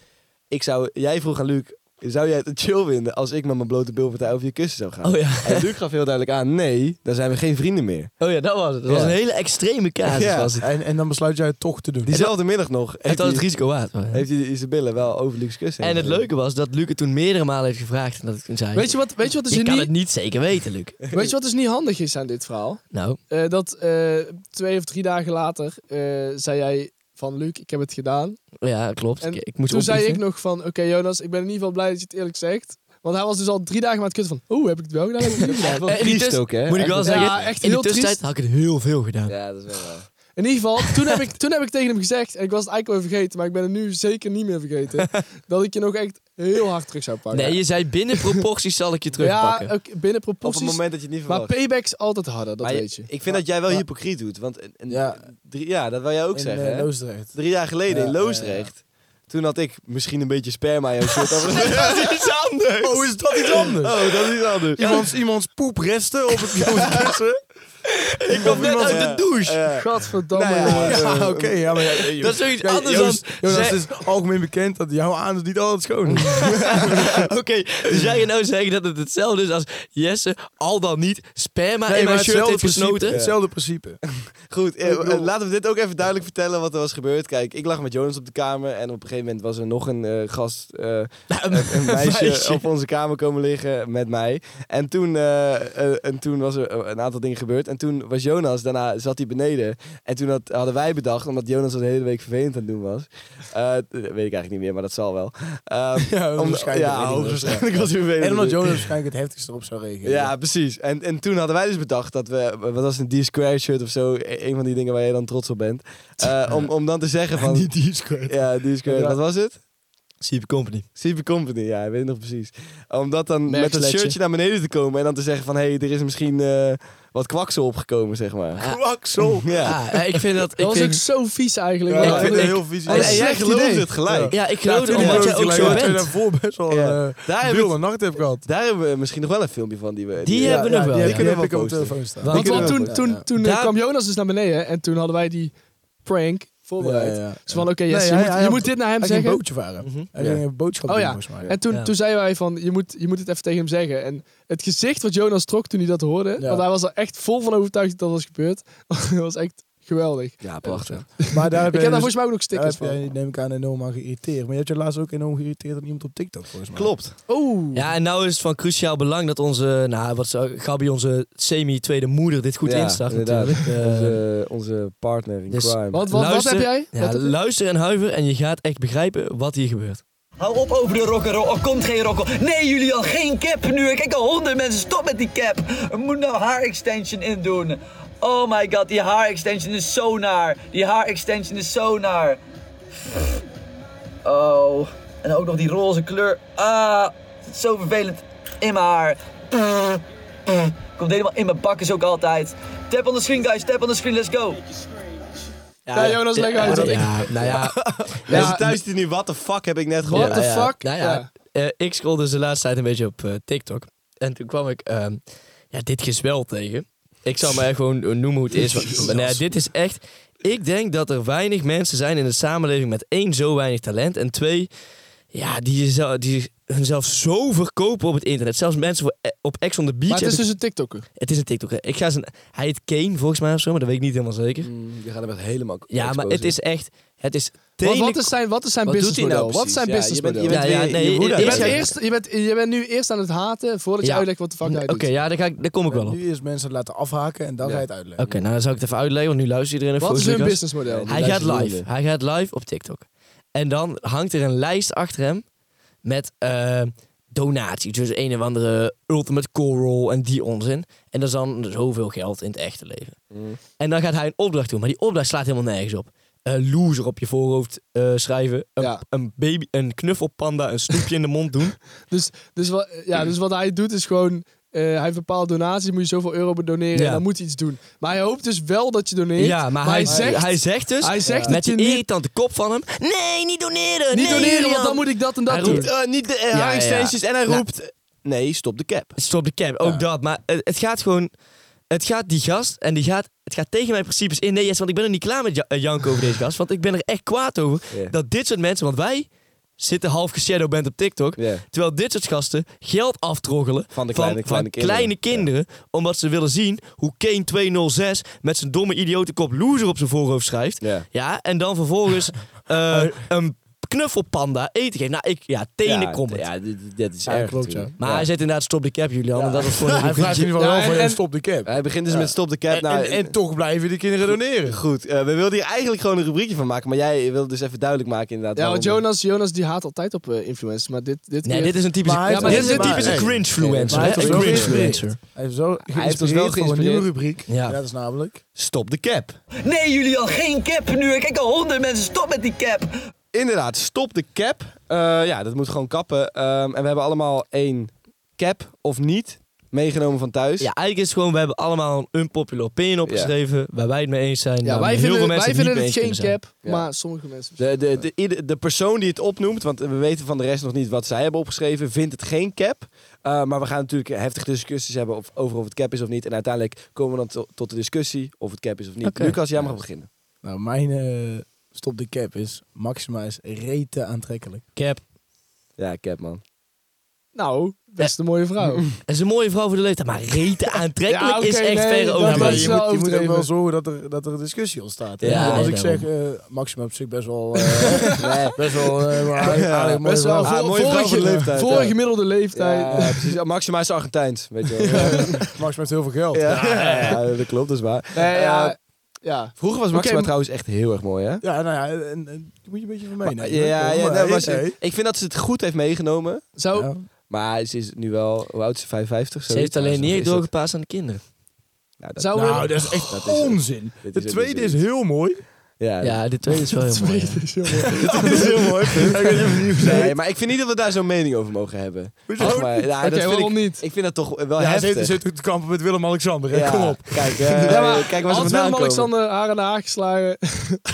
B: ik zou, jij vroeg aan Luc... Zou jij het chill vinden als ik met mijn blote bilpartij over je kussen zou gaan?
D: Oh ja.
B: En Luc gaf heel duidelijk aan... Nee, dan zijn we geen vrienden meer.
D: Oh ja, dat was het. Dat was
B: Ja.
D: een hele extreme casus.
B: Ja.
D: Was het.
E: dus En, en dan besluit jij het toch te doen.
B: Diezelfde middag nog.
D: Het
B: heeft
D: was het
B: hij-
D: risico waard. hoor.
B: heeft hij zijn billen wel over Lucs kussen.
D: En
B: heen
D: het
B: gegooid.
D: leuke was dat Luc het toen meerdere malen heeft gevraagd. En dat ik toen zei,
C: Weet je wat, weet je wat, dus
D: je kan het
C: niet,
D: niet zeker weten, Luc.
C: weet je wat dus niet handig is aan dit verhaal?
D: Nou,
C: Eh, dat eh, twee of drie dagen later eh, zei jij van Luc, ik heb het gedaan.
D: ja, klopt.
C: En
D: ik, ik moest
C: Toen zei ik
D: opbiechten.
C: nog van, oké Jonas, ik ben in ieder geval blij dat je het eerlijk zegt. Want hij was dus al drie dagen maar het kutten van, oeh, heb ik het wel gedaan? Heb ik het niet gedaan?
B: Wel
D: En in die
B: triest
D: tuss-
B: ook, hè?
D: Moet ik wel
C: Echt-
D: zeggen,
C: Ja, echt
D: in de
C: heel
D: tussentijd
C: triest.
D: had ik het heel veel gedaan.
B: Ja, dat is wel waar.
C: In ieder geval, toen heb, ik, toen heb ik tegen hem gezegd, en ik was het eigenlijk wel vergeten, maar ik ben het nu zeker niet meer vergeten, dat ik je nog echt heel hard terug zou pakken.
D: Nee, je zei binnen proporties zal ik je
C: ja,
D: terugpakken.
C: ook binnen
B: Op het
C: proporties.
B: moment dat je het niet
C: maar
B: verwacht.
C: payback is altijd harder, dat
B: Maar
C: weet je.
B: Ik vind dat jij wel
E: maar-
B: hypocriet doet. Want een- een-
E: Ja.
B: drie, ja, dat wil jij ook
E: in,
B: zeggen.
E: eh,
B: hè?
E: Loosdrecht.
B: Drie jaar geleden
E: Ja,
B: in
E: ja, ja.
B: Loosdrecht. Toen had ik misschien een beetje sperma in mijn shirt. over-
D: Dat is iets anders.
E: Oh, is dat iets anders?
B: oh, dat is anders.
F: Iemands, iemands poepresten op het kussen. Ik kom net
B: uit de
F: douche.
C: Gadverdamme,
B: Nou ja.
C: jongen.
F: Ja, oké. ja, maar ja,
D: Dat is zoiets
F: Ja,
D: anders
F: Joost-
D: dan...
F: Joost,
D: Zeg-
F: het
E: dus
F: is algemeen bekend dat jouw anus niet altijd schoon is.
D: Oké, dus jij gaat nou zeggen dat het hetzelfde is als Jesse, al dan niet, sperma in mijn shirt heeft
F: principe.
D: gesnoten?
F: Hetzelfde principe.
B: Goed, eh, eh, laten we dit ook even duidelijk vertellen wat er was gebeurd. Kijk, ik lag met Jonas op de kamer en op een gegeven moment was er nog een eh, gast, eh, een, een meisje,
D: meisje.
B: op onze kamer komen liggen met mij. En toen, eh, eh, en toen was er eh, een aantal dingen gebeurd. En toen was Jonas, daarna zat hij beneden. En toen had, hadden wij bedacht, omdat Jonas dat de hele week vervelend aan het doen was. eh, dat weet ik eigenlijk niet meer, maar dat zal wel. Ehm,
E: Ja,
B: om-
E: waarschijnlijk.
B: ja,
E: Weet ik niet.
B: hoogstwaarschijnlijk was hij vervelend.
E: En
B: aan het
E: omdat
B: doen.
E: Jonas waarschijnlijk het heftigste erop zou reageren.
B: Ja, precies. En, en toen hadden wij dus bedacht dat we, wat was het, een D-Square shirt of zo, e- een van die dingen waar jij dan trots op bent. Eh, om, om dan te zeggen van.
E: Niet die is kwijt.
B: Ja, D-Square,
E: Ja.
B: wat was het?
D: Super Company.
B: Super Company, ja, ik weet het nog precies. Om dat dan met dat
C: Merksletje.
B: shirtje naar beneden te komen en dan te zeggen van, hé, hey, er is misschien eh, wat kwaksel opgekomen, zeg maar.
F: Kwaksel.
B: Ja.
D: Ja, ik vind dat...
C: Dat
D: Ik
C: was ook
D: vind,
C: zo vies eigenlijk.
F: Ja,
C: man.
F: ik vind het
D: ik-
F: heel vies.
B: En, en Oh, jij
E: slecht
B: geloofde
E: idee.
B: het gelijk.
D: ja, ik geloof het
B: tuurlijk.
D: omdat jij ook zo
B: Tuurlijk.
D: bent.
F: daarvoor best wel
B: Ja.
F: een
B: Daar,
F: eh,
B: hebben we,
F: wilde nacht heb gehad.
B: daar hebben we misschien nog wel een filmpje van die we...
D: Die hebben we nog wel.
E: Die,
B: kunnen
E: heb
B: we
E: ik
B: wel
E: op mijn telefoon staan.
D: Want-
C: Want,
B: Die
C: want
B: kunnen
C: toen,
E: we
C: toen,
E: openen, ja.
C: toen eh,
D: Daar-
C: kwam Jonas dus naar beneden en toen hadden wij die prank voorbereid.
E: Ja, ja, ja.
C: Dus van, oké, Jesse,
E: Nee, hij-
C: je, moet,
E: hij
C: je
E: had-
C: moet dit naar hem
E: Hij ging
C: zeggen.
E: een bootje varen.
D: Mhm.
E: Hij
B: Ja.
E: ging een boodschap
C: Oh
E: doen,
C: ja.
E: volgens mij.
C: En toen,
D: Ja.
C: toen zeiden wij van, je moet, je moet het even tegen hem zeggen. En het gezicht wat Jonas trok toen hij dat hoorde,
E: Ja.
C: want hij was er echt vol van overtuigd dat dat was gebeurd. dat was echt geweldig.
B: Ja, prachtig.
E: Maar daar heb
C: Ik
E: jij
C: heb daar
E: dus-
C: volgens mij ook nog
E: daar
C: stickers
E: heb jij,
C: van.
E: neem ik aan, enorm aan geïrriteerd. Maar je hebt je laatst ook enorm geïrriteerd aan iemand op TikTok, volgens mij.
B: Klopt.
C: Oh,
D: Ja, en nou is het van cruciaal belang dat onze, nou, wat zou- Gabi, onze semi-tweede moeder, dit goed
B: Ja,
D: instart
B: inderdaad.
D: natuurlijk. Eh,
B: Onze, onze partner in
D: dus-
B: crime.
C: wat, wat, wat
D: Luister.
C: heb jij?
D: ja, luister en huiver en je gaat echt begrijpen wat hier gebeurt.
G: Hou op over de rock'n'roll. Er komt geen rock'n'roll. Nee, jullie al geen cap nu. Ik kijk al honderd mensen. Stop met die cap. Er moet nou haar extension in doen. Oh my god, die haar extension is zo naar. Die haar extension is zo naar. Oh. En ook nog die roze kleur. Ah, zo vervelend. In mijn haar. Komt helemaal in mijn bakkes ook altijd. Tap on the screen, guys. Tap on the screen. Let's go.
C: Ja, Jonas, leg uit.
D: Ja,
C: want ik-
D: ja, nou ja,
B: Mensen thuis die nu, what the fuck heb ik net gehoord?
C: What the
D: ja,
C: fuck?
D: Nou ja, eh, ik scrollde dus de laatste tijd een beetje op eh, TikTok. En toen kwam ik ehm, ja, dit gezwel tegen. Ik zal maar gewoon noemen hoe het is. want- Maar, nou ja, dit is echt... Ik denk dat er weinig mensen zijn in de samenleving met één, zo weinig talent. En twee, ja, die, jezelf, die hunzelf zo verkopen op het internet. Zelfs mensen voor, eh, op Ex on the Beach.
C: Maar het is
D: heb ik-
C: dus een TikToker.
D: het is een TikTok. hè. Ik ga zijn, hij heet Kane volgens mij of zo, maar dat weet ik niet helemaal zeker.
C: Mm.
B: Je gaat Mm, hem echt helemaal
D: Ja, maar het
B: exposen.
D: is echt... Het is
C: Wat, wat
D: tele-
C: is zijn, wat is zijn
B: Wat doet hij nou
C: businessmodel? wat is zijn
B: precies? Ja, je bent-
C: businessmodel?
B: je bent
D: Ja, ja,
B: weer-
D: nee,
B: je woede
D: eerst-
C: Je
B: aan
C: bent,
B: het
D: Eerst-
C: eerst, je, bent, je bent nu eerst aan het haten voordat
D: Ja. Mm,
C: je uitlegt wat de fuck hij
D: Oké,
C: doet.
D: ja, daar, ga ik, daar kom ik wel
E: En
D: op.
E: nu eerst mensen laten afhaken en dan ga je het uitleggen.
D: Oké, nou dan zal ik het even uitleggen, want nu luistert iedereen even.
C: Wat is hun
D: Lucas.
C: businessmodel?
D: Hij
B: Die
D: gaat
B: luisteren
D: live.
B: niet.
D: Hij gaat live op TikTok. En dan hangt er een lijst achter hem met eh, donaties. Dus een of andere Ultimate Coral en die onzin. En dat is dan zoveel geld in het echte leven.
C: Mm.
D: En dan gaat hij een opdracht doen, maar die opdracht slaat helemaal nergens op. Een loser op je voorhoofd eh, schrijven. Een,
C: Ja.
D: een, baby, een knuffelpanda, een snoepje in de mond doen.
C: Dus, dus, wat, ja, dus wat hij doet is gewoon... eh, hij bepaalt donaties, moet je zoveel euro doneren
D: Ja.
C: en dan moet hij iets doen. Maar hij hoopt dus wel dat je doneert.
D: Ja, maar, hij, zegt, hij zegt dus,
C: hij zegt
D: met
C: dat
D: die
C: je niet-
D: irritante kop van hem... Nee, niet doneren!
C: niet
D: nee,
C: doneren, want
D: Julian."
C: dan moet ik dat en dat
D: Hij
C: doen.
D: roept,
B: Eh, niet de
D: ja.
B: ja, en hij roept... Nee, stop de cap.
D: Stop de cap, ook dat. Maar het, het gaat gewoon... Het gaat die gast en die gaat, het gaat tegen mijn principes in. Nee, yes, want ik ben er niet klaar met ja- eh, janken over deze gast. Want ik ben er echt kwaad over
B: Ja.
D: dat dit soort mensen... Want wij zitten half geshadowband op TikTok.
B: Ja.
D: Terwijl dit soort gasten geld aftroggelen
B: Van de kleine- kleine kinderen.
D: kleine kinderen, Omdat ze willen zien hoe Kane 206 met zijn domme idiotenkop loser op zijn voorhoofd schrijft.
B: Ja.
D: Ja, en dan vervolgens eh, een knuffelpanda eten geven. Nou, ik, ja, tenen comment.
B: Ja, dit- dit- dat is eh,
E: Ja,
B: erg
E: klopt,
B: natuurlijk.
D: Maar hij zet inderdaad stop de cap, Julian. En dat is voor
E: Hij vraagt in ieder geval
C: Ja,
E: wel
C: en-
E: van,
C: en-
E: en, stop de cap.
B: Hij begint dus met stop de cap.
E: En,
B: nou,
E: en, en toch blijven die kinderen doneren.
B: Goed, eh, we wilden hier eigenlijk gewoon een rubriekje van maken. Maar jij wilde dus even duidelijk maken inderdaad.
C: Ja, want
B: waarom-
C: Jonas, Jonas die haat altijd op eh, influencers, maar dit, dit
D: Nee,
C: keer-
D: dit is een typische,
E: Maar hij-
D: ja, maar dit is een
E: maar-
D: typische
E: nee.
D: cringe-fluencer.
E: Maar
D: hè?
E: hij heeft
D: Een
E: ons wel
D: cringe-fluencer.
E: Hij heeft, zo
B: Hij heeft ons
C: dus
B: wel
E: voor een nieuwe
B: geïnspireerd.
E: rubriek.
D: Ja.
E: dat is namelijk...
B: Stop de cap.
G: Nee, jullie al geen cap nu. Ik kijk al honderd mensen. Stop met die cap.
B: Inderdaad, stop de cap. Eh, ja, dat moet gewoon kappen. Ehm, en we hebben allemaal één cap of niet meegenomen van thuis.
D: Ja, eigenlijk is het gewoon, we hebben allemaal een unpopular opinion opgeschreven waar wij het mee eens zijn.
C: Ja,
D: waar
C: wij
D: heel veel
C: vinden,
D: mensen
C: wij vinden
D: niet
C: het
D: mee
C: geen
D: eens kunnen zijn.
C: cap,
B: Ja.
C: maar sommige mensen...
B: De, de, de, ieder- de persoon die het opnoemt, want we weten van de rest nog niet wat zij hebben opgeschreven, vindt het geen cap. Eh, maar we gaan natuurlijk heftige discussies hebben of, over of het cap is of niet. En uiteindelijk komen we dan to- tot de discussie of het cap is of niet.
D: Oké.
B: Lucas, jij mag beginnen.
E: Nou, mijn eh, stop de cap is Maxima is rete aantrekkelijk.
D: Cap.
B: Ja, cap man.
C: Nou, dat is een mooie vrouw.
D: Het is een mooie vrouw voor de leeftijd, maar rete aantrekkelijk
C: Ja, oké,
D: is echt
C: nee,
D: verre
C: dat-
D: over.
C: Ja,
E: maar
C: dat
E: je,
C: is
E: moet,
C: wel
E: je moet ook wel
C: overdreven.
E: zorgen dat er, dat er een discussie ontstaat. hè?
D: Ja,
E: als
D: nee,
E: ik zeg, eh Maxima op zich best wel... eh,
B: Nee,
E: best wel... eh, maar aardig- aardig mooie
C: Best wel
E: vrouw.
B: Ah,
C: voor,
B: mooie vrouw
C: vorige,
B: voor de leeftijd,
C: voor
B: ja.
C: gemiddelde leeftijd.
B: Ja, precies. Ja, Maxima is Argentijns, weet je wel.
E: Maxima heeft heel veel geld.
B: Ja, ja, dat klopt, dat is waar.
C: Nee, ja,
B: Eh,
C: ja.
B: vroeger was Maxima
C: Oké,
B: trouwens echt heel erg mooi, hè?
E: Ja, nou ja, en, en, daar moet je een beetje van
B: Maar- ja,
E: meenemen.
B: Ah, ja,
E: Maar,
B: nee, maar ze-
E: hey,
B: ik vind dat ze het goed heeft meegenomen.
C: Zou,
E: ja.
B: Maar ze is nu wel, hoe oud is ze? 55?
D: Ze heeft alleen niet
B: door.
D: doorgepaast aan de kinderen.
C: zou we-
E: Nou, dat is echt
B: Oh, dat is het.
E: onzin.
B: Dit
E: De
B: is het,
E: tweede
B: dit is
E: is heel mooi.
B: Ja,
D: Ja, de tweede is wel heel mooi. ja.
B: dat is heel mooi. Nee, maar ik vind niet dat we daar zo'n mening over mogen hebben. Zeg maar, ja,
C: Oké,
B: dat vind
C: waarom
B: ik,
C: niet?
B: ik vind dat toch wel
E: Ja,
B: heftig.
E: ze zit te kampen met Willem-Alexander. hè?
B: Ja,
E: Kom op.
B: Kijk, eh,
C: Ja, maar
B: kijk waar ze
D: nou
C: Had
B: vandaan komen.
C: Willem-Alexander haar en haar geslagen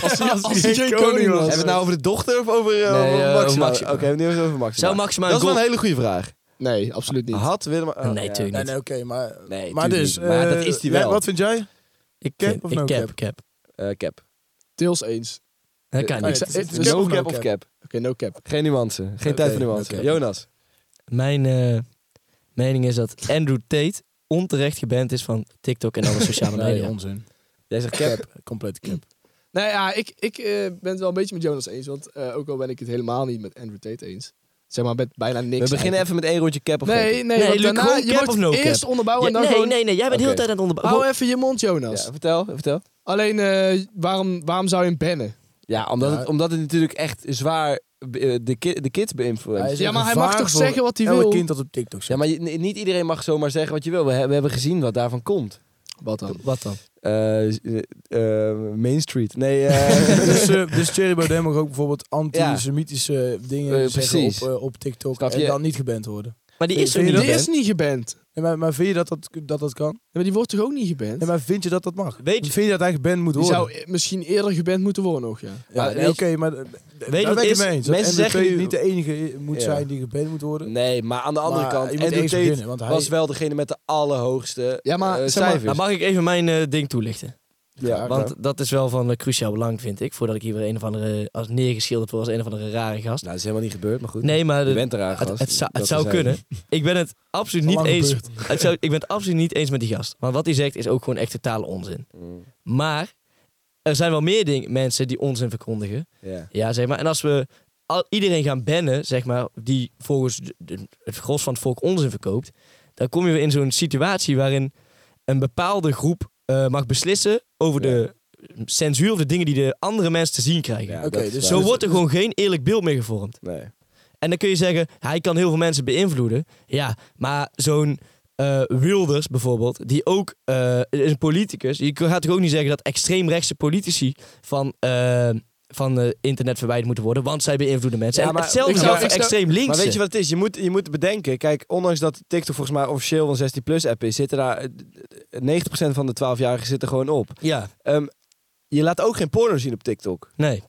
C: als hij, als hij geen koning was?
B: Hebben we het nou over de dochter of over eh,
D: Nee, eh,
B: Maxima?
D: over Maxima.
B: Oké, we hebben het niet over Maxima.
D: Zou Maxima
B: dat is
D: een
B: wel een
D: goal-
B: hele goede vraag.
C: Nee, absoluut niet.
B: Had Willem... oh,
D: Nee,
B: ja.
D: tuurlijk
E: Nee,
D: niet.
E: nee, oké, maar...
B: Nee,
E: maar
B: tuurlijk
E: dus...
B: niet. Maar dat
E: eh,
B: is die
E: jij-
B: wel.
E: Wat vind jij?
D: Ik,
E: Cap
D: vind-
E: of
D: ik
E: no
D: cap,
E: cap?
D: cap.
B: Eh, cap.
C: Deels eens.
D: Dat kan
C: Nee,
D: niet.
C: ik zei-
B: Het
C: het
B: is
C: is
B: no
C: ook
B: cap
E: no
B: of
E: cap.
B: cap.
C: Oké, no cap.
B: Geen nuance. Geen
E: Oké,
B: tijd voor nuance.
E: oké.
B: Jonas.
D: Mijn eh, mening is dat Andrew Tate onterecht geband is van TikTok en alle sociale
E: Nee,
D: media.
E: onzin.
B: Jij zegt cap.
E: Compleet cap.
C: Nou ja, ik, ik eh, ben het wel een beetje met Jonas eens. Want eh, ook al ben ik het helemaal niet met Andrew Tate eens. Zeg maar, met bijna niks.
B: We beginnen even met één rondje cap of
C: Nee, nee,
B: cap.
C: nee want
D: Luc,
C: daarna,
D: gewoon
C: je
D: cap
C: mag
D: of no
C: eerst
D: cap?
C: onderbouwen Oh, en
D: Ja,
C: dan
D: nee,
C: gewoon...
D: nee, nee, jij bent de hele
B: Oké.
D: tijd aan het
C: Hou
D: onderbouwen.
C: even je mond, Jonas.
B: Ja, vertel, vertel.
C: Alleen, eh, waarom, waarom zou je hem bannen?
B: Ja, omdat,
E: Ja.
B: Het, omdat het natuurlijk echt zwaar eh, de, ki- de kids beïnvloedt.
E: is
C: Ja,
E: een
C: maar hij mag
E: gevaar
C: toch
E: voor
C: zeggen wat hij wil?
E: Elk kind dat op TikTok
B: Ja,
E: zit.
B: maar je- ni- niet iedereen mag zomaar zeggen wat je wil. We, he- we hebben gezien wat daarvan komt.
C: Wat dan?
D: Wat dan?
B: Eh, z- eh, eh, Main Street. Nee, eh,
E: dus, eh, dus Thierry Baudet mag ook bijvoorbeeld antisemitische dingen
B: Eh,
E: zeggen op,
B: precies.
E: eh, op TikTok
B: Snap je?
E: en dan niet geband worden.
D: Maar die
E: Ik
D: is er
E: vind
D: niet.
E: dat-
C: Die
D: hè?
C: is niet geband. Nee,
E: Nee, maar, maar vind je dat dat, dat, dat kan?
C: maar die wordt toch ook niet geband?
E: Nee, maar vind je dat dat mag?
D: Weet je-
E: vind je dat hij geband moet
C: die
E: worden?
C: zou eh, misschien eerder geband moeten worden nog, ja.
E: Ja,
B: Maar
E: nee,
B: weet
E: oké, maar eh,
D: je
E: daar
D: wat
E: ben ik
D: is?
E: het mee eens. Dat
B: Mensen
E: NDP
B: zeggen nu-
E: niet de enige moet
B: Ja.
E: zijn die geband moet worden.
B: nee, maar aan de andere
E: Maar
B: kant,
E: je moet
B: Andrew
E: eerst
B: Tate
E: beginnen, want hij-
B: was wel degene met de allerhoogste
C: Ja,
B: eh,
C: maar, zeg maar,
B: cijfers.
D: Nou, mag ik even mijn eh, ding toelichten?
B: ja,
D: Want dat is wel van eh, cruciaal belang, vind ik. Voordat ik hier weer een of andere, als neergeschilderd word als een of andere rare gast.
B: nou, dat is helemaal niet gebeurd, maar goed.
D: Nee, maar
B: je
D: de-
B: bent eraan,
D: het,
B: gast.
D: het zou, het
B: Dat
D: zou
B: is
D: kunnen. Ik ben het absoluut niet
E: Lang
D: eens.
E: gebeurd.
D: Het zou, ik ben het absoluut niet eens met die gast. Want wat hij zegt is ook gewoon echt totale onzin.
B: Mm.
D: Maar er zijn wel meer ding, mensen die onzin verkondigen.
B: Ja.
D: Ja, zeg maar. En als we al, iedereen gaan bannen, zeg maar, die volgens de- de- het gros van het volk onzin verkoopt, dan kom je weer in zo'n situatie waarin een bepaalde groep eh, mag beslissen over de censuur of de dingen die de andere mensen te zien krijgen.
B: Ja,
E: Oké,
B: dat is
E: dus
B: waar.
D: Zo wordt er gewoon geen eerlijk beeld meer gevormd.
B: Nee.
D: En dan kun je zeggen, hij kan heel veel mensen beïnvloeden. Ja, maar zo'n eh, Wilders bijvoorbeeld, die ook eh, is een politicus. Je gaat toch ook niet zeggen dat extreemrechtse politici van, eh, van eh, internet verwijderd moeten worden, want zij beïnvloeden mensen.
B: Ja,
D: en
B: maar
D: hetzelfde
B: ik
C: zou-
D: geldt voor
C: ik zou-
D: extreem links.
B: Maar weet je wat het is? Je moet, je moet bedenken, kijk, ondanks dat TikTok volgens mij officieel een 16 plus app is, zitten daar eh, 90% van de 12-jarigen zitten gewoon op.
D: Ja,
B: Ehm, je laat ook geen porno zien op TikTok.
D: nee.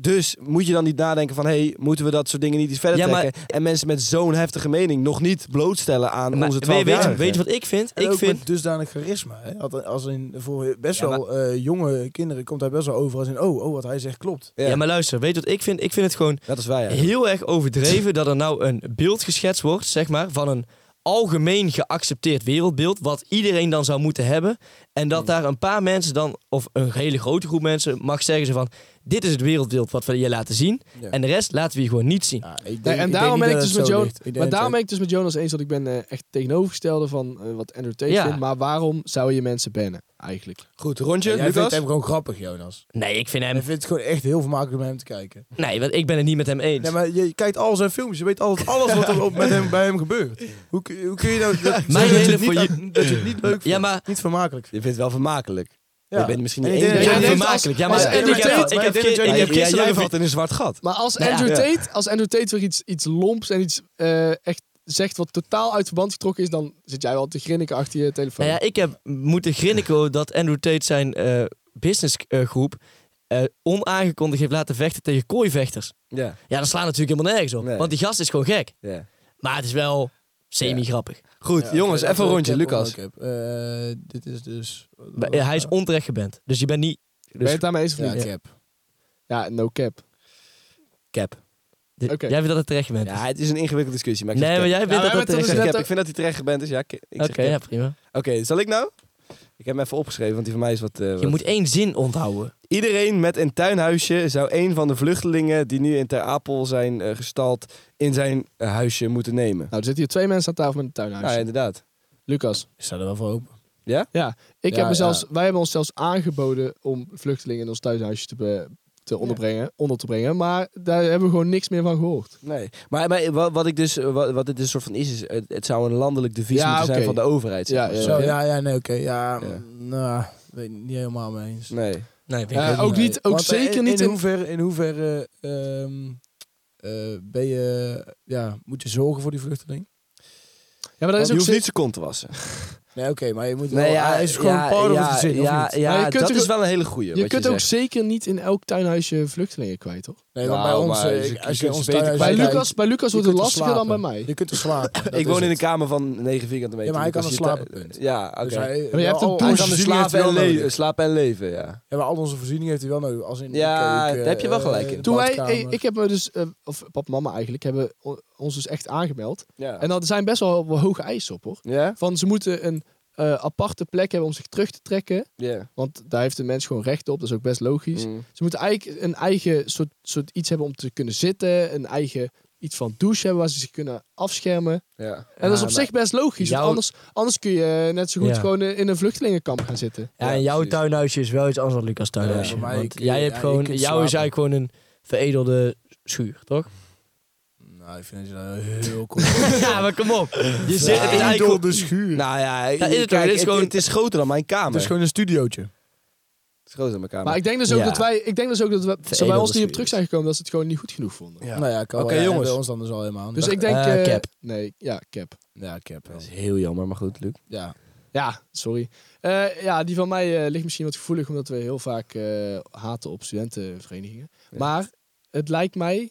B: Dus moet je dan niet nadenken van, hey, moeten we dat soort dingen niet iets verder
D: Ja, maar-
B: trekken? En mensen met zo'n heftige mening nog niet blootstellen aan
D: Maar
B: onze
D: weet, je-
B: 12
D: weet, je-
B: jarigen
D: weet je wat ik vind?
E: En
D: ik
E: ook
D: vind...
E: met dusdanig charisma. Hè? Had- Als in, voor best
D: Ja,
E: wel eh, jonge kinderen komt hij best wel over als in... Oh, oh wat hij zegt klopt.
B: Ja,
D: Ja, maar luister, weet je wat ik vind? Ik vind het gewoon
B: Dat is wij eigenlijk.
D: heel erg overdreven dat er nou een beeld geschetst wordt, zeg maar, van een algemeen geaccepteerd wereldbeeld, wat iedereen dan zou moeten hebben. En
B: Mm.
D: dat daar een paar mensen dan, of een hele grote groep mensen, mag zeggen ze van, dit is het wereldbeeld wat we je laten zien.
E: Ja.
D: En de rest laten we je gewoon niet zien.
E: Ja, ik denk- ik
C: Nee,
E: denk
C: en
E: niet
C: daarom
E: dat
C: ben ik
E: het
C: dus met
E: zo
C: Jonas,
E: ligt. Ik denk
C: maar
E: dat
C: daarom
E: het-
C: ben ik dus met Jonas eens dat ik ben eh, echt tegenovergestelde van eh, wat Andrew Tate
D: Ja.
C: vindt. Maar waarom zou je mensen bannen eigenlijk?
B: Goed, rondje,
D: dus
E: Jij vindt
B: Lucas?
E: hem gewoon grappig, Jonas.
D: Nee, ik vind
E: En
D: hem...
E: ik vind het gewoon echt heel vermakelijk om naar hem te kijken.
D: Nee, want ik ben het niet met hem eens.
E: Nee, maar je kijkt al zijn filmpjes. Je weet altijd alles wat er op- met hem, bij hem gebeurt. Hoe, kun- hoe kun je nou... Dat, zeggen dat, je
D: hele
E: het niet
D: foyer-
E: aan- dat je het niet leuk vindt.
D: ja, maar
E: Niet vermakelijk
B: Je vindt het wel vermakelijk. Ik ben misschien
E: En
B: niet
E: ik denk
B: één.
E: dat
B: Ja,
E: jij
B: nee,
E: denkt
D: vermakelijk. Ja,
C: als
D: maar ik
C: Andrew
D: heb- ik heb
C: Tate-
D: ik heb
F: maar
D: ik heb
B: ja, jij
D: gisteren
B: valt in een zwart gat.
C: Maar als
D: Nou ja.
C: Andrew,
B: Ja.
C: Tate, als Andrew Tate weer iets, iets lomps en iets eh, echt zegt wat totaal uit verband getrokken is, dan zit jij wel te grinniken achter je telefoon.
D: Nou ja, ik heb moeten grinniken dat Andrew Tate zijn eh businessgroep eh, onaangekondigd heeft laten vechten tegen kooivechters.
B: Ja.
D: Ja, dat slaat natuurlijk helemaal nergens op.
B: Nee.
D: Want die gast is gewoon gek.
B: ja.
D: Maar het is wel semi-grappig.
B: Goed,
E: Ja,
B: jongens,
E: oké,
B: even een
E: dat
B: rondje.
E: wil ik
B: Lucas.
E: ook hebben. Eh, dit is dus...
D: Maar, eh, Hij is onterecht geband. Dus je bent niet...
C: ben je het daarmee eens of
E: Ja,
C: niet?
E: cap.
C: Ja, no cap.
D: Cap. De-
C: Oké.
D: Jij vindt dat het terecht geband is.
B: Ja, het is een ingewikkelde discussie, maar ik
D: Nee,
B: zeg
D: maar
B: cap.
D: jij vindt
C: wij
D: dat dat
C: hebben
B: Ik
D: terecht
C: het
B: zeg cap.
C: dus net
B: Ik vind dat hij terecht geband is. Ja, ik, ik zeg
D: Oké,
B: cap.
D: ja, prima.
B: Oké, zal ik nou? Ik heb hem even opgeschreven, want die van mij is wat... eh,
D: Je
B: wat-
D: moet één zin onthouden.
B: Iedereen met een tuinhuisje zou een van de vluchtelingen die nu in Ter Apel zijn eh, gestald in zijn eh, huisje moeten nemen.
C: Nou, er zitten hier twee mensen aan tafel met een tuinhuis.
B: Ja, inderdaad.
C: Lucas,
E: Ik sta er wel voor open.
C: ja, ik
E: Ja,
C: heb me
E: ja.
C: zelfs, wij hebben ons zelfs aangeboden om vluchtelingen in ons thuishuisje te, be- te onderbrengen, onder te brengen, maar daar hebben we gewoon niks meer van gehoord.
B: Nee. Maar, maar wat, wat ik dus, eh, wat, wat dit dus soort van is, is het, het zou een landelijk devies
C: Ja,
B: moeten zijn
C: oké.
B: van de overheid. zeg
C: Ja,
B: maar.
C: ja.
E: Zo, ja, ja, nee, oké. Ja,
B: Ja.
E: nou, weet ik niet helemaal mee eens.
B: Nee.
D: Nee, vind ik
C: Ja,
D: ook
C: ook
D: niet.
C: niet, ook
E: Want, eh,
C: zeker
E: in,
C: niet.
E: In
C: In,
E: hoeverre, in hoeverre ehm, eh, ben je, ja, moet je zorgen voor die vluchteling?
C: ja, maar dat is
B: Je
C: ook
B: hoeft
C: zeker-
B: niet zijn kont te wassen.
E: Nee, oké, maar je moet wel...
B: Nee,
E: hij is gewoon
B: ja,
E: part of het gezin, of
B: ja,
E: niet?
B: ja,
C: Maar je kunt
B: dat
C: er-
B: is wel een hele goeie.
C: Je
B: wat
C: kunt ook
B: zegt.
C: zeker niet in elk tuinhuisje vluchtelingen kwijt, hoor.
E: Nee, want
B: Nou,
E: bij ons,
B: maar
E: eh,
B: je
E: als je
B: kunt
E: ons
B: ze beter
E: thuis
C: Bij
B: kwijt.
E: kijkt,
C: Lucas, bij
E: je
C: Lucas wordt het
E: kunt er
C: lastiger dan bij
E: slapen.
C: mij.
E: Je kunt er slapen. dat
B: Ik
E: is
B: woon in een
E: het.
B: kamer van 9 vierkante meter.
E: maar hij kan
B: dus
E: een
B: als je
E: slaappunt.
B: tu- Ja, oké.
E: Dus hij,
C: je hebt
E: al
C: een
E: onze
B: Hij
C: douche,
B: kan dus
E: voorzieningen heeft
B: slapen
E: hij
B: en,
E: wel
B: le-
E: nodig.
B: slapen en leven, ja.
E: Ja, maar al onze voorzieningen heeft hij wel nodig. Als in de
B: Ja,
E: keuken,
B: daar heb je wel gelijk in.
E: eh,
B: de
C: Toen wij,
E: badkamer.
C: eh, ik heb me dus, eh, of pap en mama eigenlijk, hebben o- ons dus echt aangemeld.
B: Ja?
C: En dat zijn best wel wel hoge eisen op, hoor.
B: Ja?
C: Van ze moeten een eh, aparte plek hebben om zich terug te trekken.
B: Ja.
C: Want daar heeft de mens gewoon recht op. Dat is ook best logisch.
B: Mm.
C: Ze moeten eigenlijk een eigen soort, soort iets hebben om te kunnen zitten. Een eigen iets van douche hebben waar ze zich kunnen afschermen. En
B: Ja.
C: dat is
D: Ja,
C: op zich best logisch.
D: jouw-
C: Want anders, anders kun je net zo goed
D: Ja.
C: gewoon eh, in een vluchtelingenkamp gaan zitten.
D: Ja,
B: Ja,
D: en jouw
B: precies.
D: tuinhuisje is wel iets anders dan Lucas' tuinhuisje.
E: Ja, maar
D: want
E: ik-
D: jij hebt
E: ja,
D: gewoon,
E: je kunt
D: jouw is
E: slapen.
D: eigenlijk gewoon een veredelde schuur, toch?
E: Nou, ik vind dat je daar heel cool.
D: ja, maar kom op. Je zit het is eigenlijk
B: door
D: gewoon-
B: de schuur. Nou ja,
D: dus is het ook.
B: kijk,
D: Dit is
B: het,
D: gewoon-
B: het
E: dus-
B: is groter dan mijn kamer.
E: Het is gewoon een studiootje.
B: Het is groter dan mijn kamer.
C: Maar ik denk dus ook
B: Ja.
C: dat wij, ik denk dus ook dat we, ze bij
D: Veredelde
C: ons niet op
D: spirit.
C: terug zijn gekomen dat ze het gewoon niet goed genoeg vonden.
E: Nou ja, kan
B: Oké,
E: wel. Ja,
B: jongens.
E: Bij ons dan dus al helemaal.
C: Dus
E: Dat-
C: ik denk,
D: Eh,
C: eh,
D: cap.
C: nee, ja, cap.
E: Ja, ik heb wel.
B: Dat is heel jammer, maar goed, Luc.
E: Ja.
C: Ja, sorry. Eh, ja, die van mij eh, ligt misschien wat gevoelig, omdat we heel vaak eh, haten op studentenverenigingen.
B: Ja.
C: Maar het lijkt mij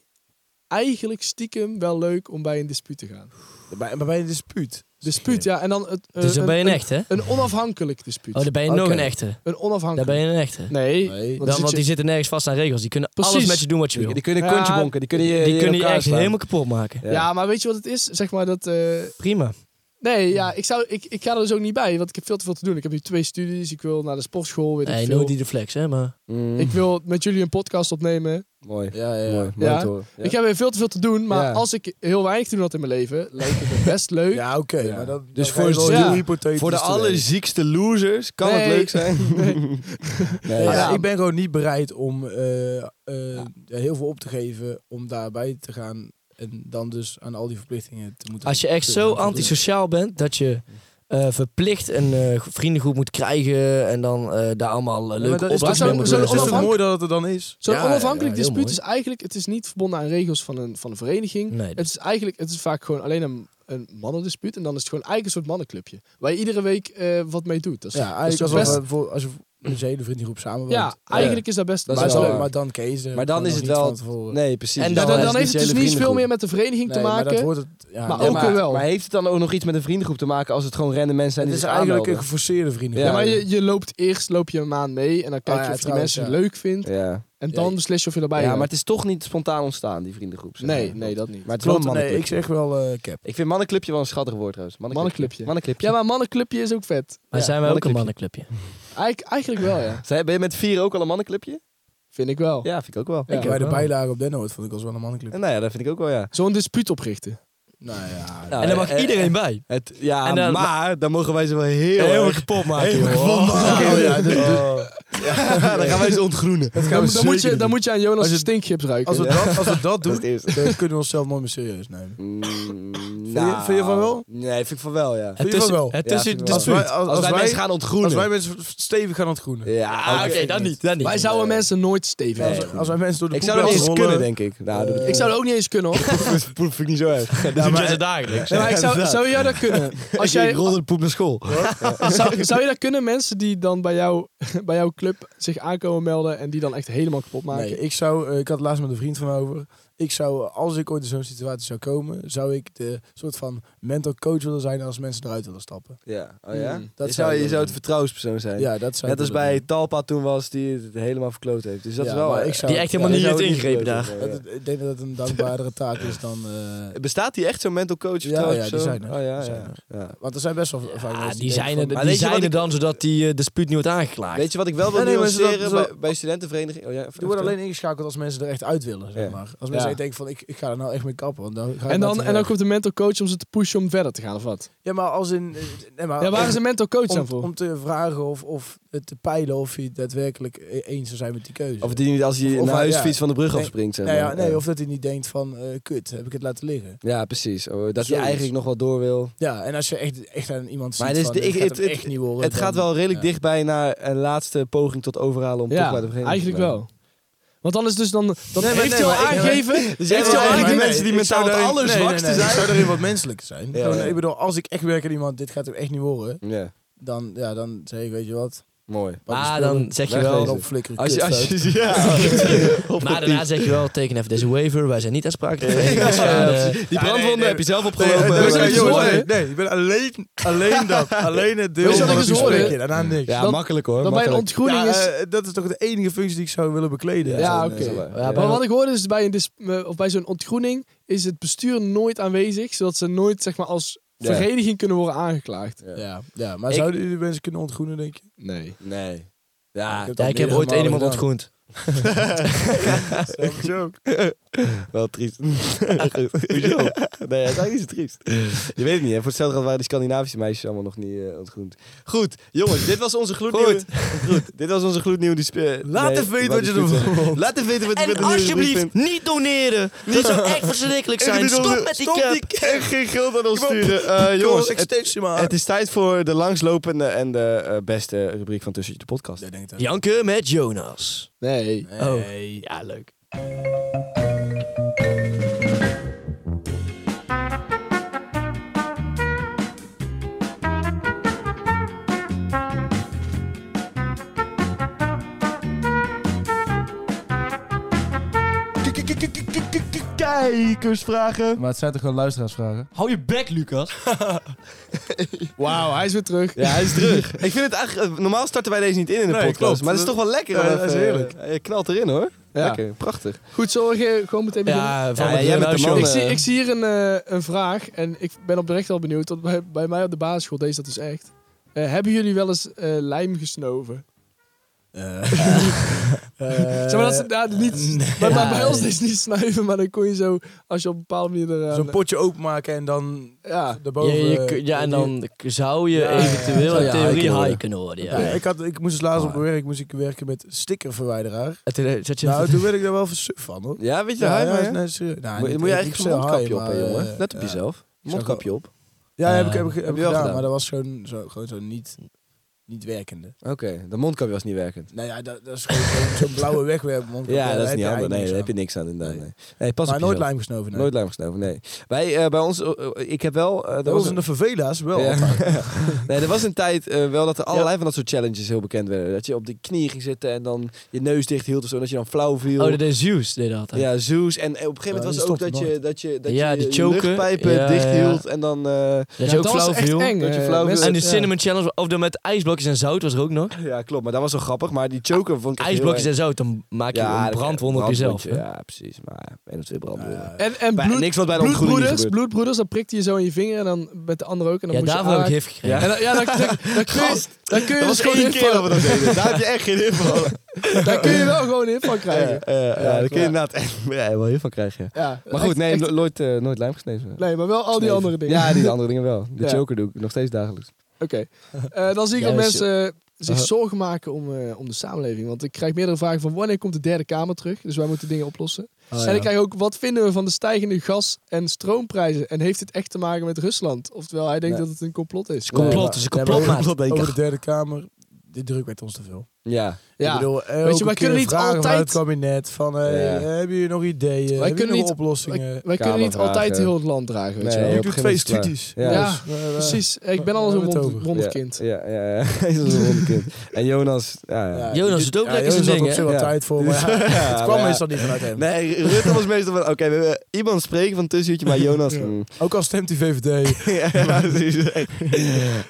C: eigenlijk stiekem wel leuk om bij een dispuut te gaan.
E: Bij, maar bij een dispuut.
C: Dispuut, ja, en dan... Het, eh,
D: Dus dan ben je een
C: een,
D: echte, hè?
C: een onafhankelijk dispuut.
D: Oh, dan ben je nog
E: Oké.
D: een echte.
C: Een
D: Dan
C: onafhankelijk...
D: ben je een echte.
C: Nee,
E: Nee.
D: Dan,
C: want Nou, zit
D: want
C: je-
D: die zitten nergens vast aan regels. Die kunnen alles
C: Precies.
D: met je doen wat je wil.
B: Die
D: Die,
B: kunnen
C: Ja,
B: kontje bonken, die kunnen je in
D: kunnen je
B: elkaar
D: echt
B: slaan.
D: helemaal kapot maken.
C: ja. maar weet je wat het is? Zeg maar dat... eh,
D: Prima.
C: nee, ja, ik, zou, ik, ik ga er dus ook niet bij, want ik heb veel te veel te doen. Ik heb nu twee studies, ik wil naar de sportschool, weet ik
D: Nee,
C: veel.
D: nooit die de flex, hè? Maar
B: Mm,
C: Ik wil met jullie een podcast opnemen.
B: Mooi.
E: Ja, ja, ja.
B: Mooi, mooi
C: Ja.
B: te horen. Ja.
C: Ik heb weer veel te veel te doen, maar
B: Ja.
C: als ik heel weinig te doen had in mijn leven, lijkt het me best leuk.
E: Ja, oké.
B: Ja.
E: Maar dat,
B: Dus
E: dat
B: voor
E: is wel
C: het-
E: heel
C: ja.
E: hypothetisch
B: Voor de
E: te werken.
B: allerziekste losers kan het
C: Nee.
B: leuk zijn. Nee.
E: Ja,
B: ja.
E: ja, ik ben gewoon niet bereid om eh, eh, heel veel op te geven om daarbij te gaan. En dan dus aan al die verplichtingen te moeten
D: als je echt
E: te
D: zo
E: gaan voldoen.
D: antisociaal bent dat je eh, verplicht een eh, vriendengroep moet krijgen en dan eh, daar allemaal eh,
E: Ja, maar
D: leuke
E: dat is toch
D: opdrachten
C: zo-
D: mee
E: zo- zo-
D: moet
C: zo'n
D: doen. Dus
E: is toch
C: onafhank-
E: mooi dat het er dan is.
C: Zo'n
D: Ja, ja,
C: onafhankelijk
D: ja, heel
C: dispuut
D: mooi.
C: is eigenlijk, het is niet verbonden aan regels van een, van een vereniging.
D: Nee,
C: Het is eigenlijk, het is vaak gewoon alleen een, een mannendispuut. En dan is het gewoon eigenlijk een soort mannenclubje. Waar je iedere week eh, wat mee doet. Dat is,
E: Ja,
C: dat is
E: eigenlijk
C: toch
E: alsof
C: best-
E: we voor, Dus als je met je hele vriendengroep samenwerkt.
C: ja, eigenlijk is dat best
B: Dat
C: dat
B: is
E: maar,
C: best
B: wel
E: dan,
C: leuk.
B: waar.
E: maar dan kees
B: Maar dan is het wel... Nee, precies.
D: En
C: Ja,
D: dan
C: dan, dan
D: is
C: heeft het dus niet veel meer
B: met.
C: met de vereniging te
E: Maar dat
C: maken.
E: wordt het, ja,
C: Maar
E: ja,
C: ook
E: maar
C: weer wel.
B: Maar heeft het dan ook nog iets met een vriendengroep te maken als het gewoon random mensen zijn
E: Het
B: die
E: is
B: zich
E: dus eigenlijk een
B: aanmelden?
E: geforceerde vriendengroep.
C: ja,
B: Ja,
C: maar
E: je,
C: je, je loopt eerst loop je een maand mee. En dan kijk
E: Ah, ja,
C: je of je die
E: trouwens,
C: mensen
E: ja.
C: leuk vindt.
B: Ja.
C: En dan beslis je of je erbij
B: ja,
C: hoort.
B: maar het is toch niet spontaan ontstaan, die vriendengroep. zeg
C: Nee,
B: maar.
C: nee, dat niet.
B: Maar het is wel een
E: Klopt, nee,
B: mannenclubje.
E: ik zeg wel eh, cap.
B: Ik vind mannenclubje wel een schattig woord trouwens.
C: Mannenclubje.
B: Mannenclubje.
C: Ja, maar mannenclubje is ook vet.
D: Maar
B: Ja,
D: zijn wij ook een
B: mannenclubje.
D: mannenclubje?
C: Eigenlijk, eigenlijk wel, ja.
B: Zij- Ben je met vier ook al een mannenclubje?
C: Vind ik wel.
B: Ja, vind ik ook wel.
C: Ja.
E: Bij de
D: wel.
E: bijlage op Den Hoort vond ik als wel een mannenclub.
B: Nou ja, dat vind ik ook wel, ja.
C: Zo'n dispuut oprichten.
E: Nou ja,
B: Nou,
D: En daar mag
B: eh,
D: iedereen bij.
B: Het, ja,
D: En dan-
B: maar dan mogen wij ze wel heel, erg
D: Heel erg kapot maken. joh.
B: kapot maken.
E: Oh, ja, dus- dus-
B: dan gaan wij ze ontgroenen.
E: Dat
C: Dan, dan, moet je, dan moet je aan Jonas'
E: Als het-
C: stinkchips ruiken.
E: Als we,
C: Ja.
E: dat, als we dat doen,
B: het eerste.
E: dan kunnen we onszelf nooit meer serieus nemen.
B: Mm, vind,
E: je- vind je van wel?
B: Nee, vind ik van wel, ja.
E: Vind je van wel?
D: Het
B: Ja,
D: tussen,
B: vind ik
D: dus
B: wel.
E: Als wij, als,
B: Als,
E: als
B: wij
E: wij,
B: mensen gaan ontgroenen.
E: als wij mensen stevig gaan aan het groenen.
B: Ja,
D: Ah, oké, dan niet. Dan niet.
C: Wij zouden mensen nooit stevig
B: Nee.
C: zijn.
E: Als wij mensen door de
B: Ik zou dat niet
E: poep
B: eens
E: laten rollen.
B: kunnen, denk ik. Nou, doe
C: Ik zou dat ook niet eens kunnen hoor.
B: dat poep vind ik niet zo erg.
D: Dat doen
E: maar-
D: ze dagelijks.
C: Nee, maar ik zou,
B: inderdaad.
C: zou jij dat kunnen? Als jij,
B: Ik rolde de poep naar school.
C: zou, zou je dat kunnen, mensen die dan bij, jou, bij jouw club zich aankomen melden en die dan echt helemaal kapot maken?
E: Nee, ik zou, eh, ik had het laatst met een vriend van me over. Ik zou, als ik ooit in zo'n situatie zou komen, zou ik de soort van mental coach willen zijn als mensen eruit willen stappen.
B: Ja, oh ja?
C: Mm,
E: dat
B: je zou,
E: zou ik
B: je
E: wel
B: zou het
E: doen.
B: vertrouwenspersoon zijn.
E: Ja, dat zou
B: Net
E: ik
B: als
E: willen
B: bij
E: doen.
B: Talpa toen was, die het helemaal verkloot heeft. Dus dat
E: Ja,
B: is wel...
E: maar
B: eh,
E: ik zou-
D: Die echt helemaal
E: ja,
B: die
D: niet
B: zou
D: heeft
B: het
D: ingrepen
B: verkloot
D: daar.
B: hebben,
E: Dat- ik denk dat het een dankbaardere taak is dan... eh,
B: ja. Bestaat die echt zo'n mental coach?
E: Ja,
B: vertrouwenspersoon?
E: ja, die zijn
B: Oh,
E: er.
B: ja,
E: Die zijn
B: ja. ja.
E: want er zijn best wel vaak
D: Ja,
E: mensen
D: die
E: denken
D: zijn
E: van-
D: er,
B: Maar
D: die
B: weet je
D: zijn
B: wat
D: er
B: ik-
D: dan zodat die eh, dispuut niet wordt aangeklaagd.
B: Weet je wat ik wel wil
E: Ja, nee, maar ze-
B: nuanceren
E: ze-
B: bij, bij studentenvereniging? Oh, ja,
E: Die worden alleen ingeschakeld als mensen er echt uit willen, zeg
B: Ja.
E: maar. Als mensen echt
C: Ja.
E: denken van, ik, ik ga er nou echt mee kappen. Want dan ga ik
C: en,
E: nou
C: dan,
E: te
C: en dan
E: ver.
C: komt de mental coach om ze te pushen om verder te gaan of wat?
E: Ja, maar als in... eh, Nee, maar
C: Ja, waar is een mental coach
E: om,
C: dan voor?
E: om te vragen of, of het te peilen of je het daadwerkelijk e- eens zou zijn met die keuze.
B: Of die niet als hij
E: Of-
B: een
E: of hij-
B: huisfiets
E: ja.
B: van de brug
E: Nee,
B: afspringt. Zeg
E: nou ja,
B: maar.
E: nee,
B: Ja.
E: of dat hij niet denkt van, eh, kut, heb ik het laten liggen.
B: Ja, precies. Oh, Dat je
E: Zoiets.
B: eigenlijk nog wel door wil.
E: Ja, en als je echt, echt aan iemand ziet
B: Maar het is
E: van,
B: de- ik-
E: dit gaat
B: het-
E: hem
B: het-
E: echt niet worden.
B: Het gaat
E: dan-
B: wel redelijk
E: ja.
B: dichtbij naar een laatste poging tot overhalen om toch bij
C: Ja,
B: de vereniging
C: eigenlijk
B: te
C: wel. Want dan is dus dan... dan
E: maar
C: heeft
E: nee,
C: hij al
E: maar ik-
B: Dus
C: aangegeven... jij
B: jij
C: Heeft
B: wil
C: wil hij
B: eigenlijk
C: eigenlijk
B: die
C: die
B: mensen die mentaal het allerzwakste
E: Ik
B: zijn?
E: zou erin wat menselijk zijn.
B: Ja,
E: Gewoon,
B: ja.
E: Ik bedoel, als ik echt werk aan iemand, dit gaat hem echt niet worden.
B: Ja,
E: Dan, ja, dan zeg ik, weet je wat.
B: mooi.
E: pak je
D: maar
E: spullen,
D: dan zeg je
B: wegwezen.
D: wel...
E: dan flikker ik
B: Als je, als
E: kutfout.
B: je, ja.
E: Oh,
D: Maar daarna zeg je wel, teken even deze waiver. Wij zijn niet aansprakelijk voor
B: Ja,
D: engineschade.
B: Die brandwonden
F: nee.
B: heb je zelf
E: Nee,
B: opgelopen.
E: nee,
C: we zijn
E: nee,
C: het
E: jongens,
C: horen,
E: nee,
C: hè?
E: nee, ik ben alleen, alleen dat. alleen het deel
C: Weet je
E: van
C: wat ik
E: het
C: eens hoorde?
E: gesprekje. Daarna niks.
B: ja,
C: dan-
B: makkelijk hoor.
C: Dan bij een
B: makkelijk.
C: ontgroening
E: Ja,
C: is...
E: eh, dat is toch de enige functie die ik zou willen bekleden.
C: Ja,
E: Zo'n,
C: oké.
E: eh,
B: Ja,
D: Ja,
C: Maar
D: maar-
C: wat ik hoorde is bij, een dis- eh, of bij zo'n ontgroening is het bestuur nooit aanwezig, zodat ze nooit zeg maar, als
B: Ja.
C: vereniging kunnen worden aangeklaagd.
E: Ja, ja, maar
D: Ik-
E: zouden jullie mensen kunnen ontgroenen, denk je?
C: Nee.
B: Nee. Ja,
D: Ja, ik heb ooit één iemand ontgroend.
B: wel triest. Hoezo? Nee, het is eigenlijk niet zo triest. Je weet het niet, hè? Voor hetzelfde geld waren die Scandinavische meisjes allemaal nog niet eh, ontgroend. Goed, jongens, dit was onze gloednieuwe... Goed. dit was onze gloednieuwe... disp-
E: Laat
B: nee,
E: even weten
B: waar
E: wat je
B: dispuut
E: ervan
B: is.
E: vond.
B: Laat even weten wat je
D: En
B: met de nieuwe rubriek
D: alsjeblieft,
B: vindt.
D: niet doneren. Dit zou echt verschrikkelijk zijn. Stop met die cap.
B: En geen geld aan ons sturen. Eh, jongens, het, het is tijd voor de langslopende en de eh, beste rubriek van Tussen de Podcast.
D: Janken met Jonas.
C: Nee.
D: Oh, ja, leuk.
B: Kijkersvragen.
E: Maar het zijn toch gewoon luisteraarsvragen?
D: Hou je bek, Lucas.
C: Wauw, Oh, hij is weer terug.
B: Ja, hij is terug. Ik vind het eigenlijk... eh, Normaal starten wij deze niet in in de
E: Nee,
B: podcast.
E: klopt.
B: Maar dat is toch wel lekker. om
E: Ja, dat is
B: even-
E: heerlijk.
B: eh, Je knalt erin hoor.
C: Ja.
B: Lekker, prachtig.
C: Goed, zullen we ge- gewoon meteen beginnen?
D: Ja, van
B: Ja,
D: het
B: jij bent de
D: Renault
B: man.
D: Show.
B: eh,
C: ik, zie, ik zie hier een, eh, een vraag en ik ben oprecht al benieuwd. Want bij, bij mij op de basisschool deed ze dat dus echt. Eh, hebben jullie wel eens eh, lijm gesnoven?
E: Eh,
C: zeg maar, dat ze daar niet... maar, maar
D: Eh.
C: bij
D: nee.
C: ons is dus niet snuiven, maar dan kon je zo... Als je op een bepaalde manier eraan...
E: Zo'n potje openmaken en dan
C: Ja.
E: daarboven...
D: Ja, je
E: eh,
D: kun- ja, en dan k- zou je
E: Ja, ja, ja.
D: eventueel
E: Zou
D: in
E: je
D: theorie
E: hiker worden.
D: high kunnen worden.
E: Ja,
D: Ja.
E: ik, had, ik moest dus laatst
B: Ah.
E: op mijn werk moest ik werken met stickerverwijderaar.
D: En toen, eh, zat je
E: Nou, toen werd ik daar wel suf van, hoor.
B: Ja, weet je, ja,
E: ja, nee, serieus. Nou,
B: moet,
E: niet-
B: moet je
E: ik-
B: eigenlijk
E: ik
B: zo'n
E: zei
B: mondkapje
E: hi,
B: op, hè,
E: maar,
B: jongen.
E: eh,
B: Let op
E: ja.
B: jezelf.
E: zou
B: Mondkapje op.
E: Ja, heb
D: Eh,
E: ik, heb ik, heb
B: heb
E: ik
B: je wel
E: gedaan,
B: gedaan.
E: maar dat was gewoon zo, gewoon zo niet, niet werkende.
B: Oké, de mondkapje was niet werkend.
E: Nou ja, dat, dat is gewoon zo'n- zo'n blauwe wegwerp. mondkapje. eh,
B: Ja,
E: Daar
B: dat is
E: heb
B: niet
E: je
B: handig. Nee,
E: eigenlijk
B: daar heb je
E: niks
B: niks aan inderdaad. Nee, nee pas
E: aan. Maar
B: op jezelf.
E: nooit lijm gesnoven. nee.
B: Nooit lijm gesnoven, nee. Wij, eh, bij ons, eh, ik heb wel... eh, er
E: Dat
B: was
E: was
B: een,
E: in de favela's wel.
B: Ja.
E: altijd.
B: nee, er was een tijd eh, wel dat er allerlei van dat soort challenges heel bekend werden. Dat je op de knieën ging zitten en dan je neus dicht hield of zo. En dat je dan flauw viel.
D: Oh, dat deed Zeus, deed dat altijd.
B: ja, Zeus. En eh, op een gegeven moment was
E: Ja,
B: het
E: die
B: ook dat
E: stopt
B: je, dat je, dat
D: Ja,
B: je
D: die
B: je
D: choken.
B: luchtpijpen
D: Ja,
B: dicht
D: ja.
B: hield. En dan... eh,
D: Dat je
C: Ja,
D: ook
C: dat was
D: flauw
C: echt
D: viel.
C: eng.
B: Dat je
C: eh,
B: flauw
C: mensen-
D: En de
C: ja.
D: cinnamon challenge, of dan met ijsblokjes en zout was er ook nog.
B: ja, klopt. Maar dat was wel grappig. Maar die choker vond ik echt heel
D: Ijsblokjes
B: erg-
D: en zout, dan maak je een
B: dat-
D: brandwond op jezelf.
B: brandwondje,
D: hè?
B: Ja, precies. Maar één of twee brandwonden.
E: Ja.
C: En, en
B: Bij-
C: Eh, bloed,
B: niks wat bij de ontgroening
C: bloedbroeders,
B: gebeurt.
C: bloedbroeders, dan prikte je zo in je vinger en dan met de andere ook. En dan
D: Ja,
C: moest
D: daarvoor heb ik
C: je
D: gif gekregen.
C: aanraken. En dan, ja, dan, dan, dan kun je, dan kun je dus gewoon hip van-
B: dat deden. Daar heb je echt geen info over.
C: Daar kun je wel gewoon hip van krijgen.
B: ja, daar kun je inderdaad echt ja, wel heel van krijgen.
C: Ja,
B: Maar goed,
C: echt-
B: nee,
C: echt-
B: no- nooit, eh, nooit lijm gesneven.
C: nee, maar wel al die
B: Gesneven.
C: andere dingen.
B: Ja, die andere dingen wel. De
C: Ja.
B: choker doe ik nog steeds dagelijks.
C: Oké. Eh, dan zie ik dat
D: Juist,
C: mensen zich zorgen maken om, eh, om de samenleving. Want ik krijg meerdere vragen van wanneer komt de derde kamer terug? Dus wij moeten dingen oplossen. en ik krijg ook wat vinden we van de stijgende gas- en stroomprijzen? En heeft het echt te maken met Rusland? Oftewel, hij denkt
E: Nee.
C: dat het een complot is.
D: Complot,
E: Nee, maar-
D: het is een
E: nee, maar over-
D: complotmaat.
E: Over de derde kamer, die druk werd ons te veel.
B: Ja.
C: Ja.
E: Ik bedoel,
C: je,
E: Weet je,
C: wij
E: wij
C: kunnen niet
E: vragen
C: altijd-
E: vanuit het kabinet van, eh,
B: Ja.
E: hebben jullie nog ideeën? hebben
C: kunnen
E: jullie nog
C: niet-
E: oplossingen?
C: Eh, wij kunnen niet
B: Kamervragen.
C: altijd heel het land dragen, weet
B: Nee,
C: je wel.
B: op
F: Ik
B: een
F: doe
B: gegeven
F: twee
B: moment klaar.
F: studies.
B: Ja,
C: Ja,
B: dus,
E: eh,
C: Precies, ik ben alles
E: Daar hebben we
C: een
E: het
C: wond-
E: over.
C: wonderkind.
B: Ja, ja, ja. Hij is een wonderkind. En Jonas... Ja, ja.
D: Jonas doet ook lekker zijn
E: ding, op
D: ding,
E: zich
D: hè?
E: wel
B: Ja.
E: tijd voor, maar ja,
B: Ja,
E: het
B: maar
E: kwam
B: ja.
E: meestal niet vanuit hem.
B: Nee, Rutte was meestal van... Oké, we hebben iemand spreken van tussenuurtje, maar Jonas... mm.
E: Ook al stemt die VVD.
B: Ja, precies.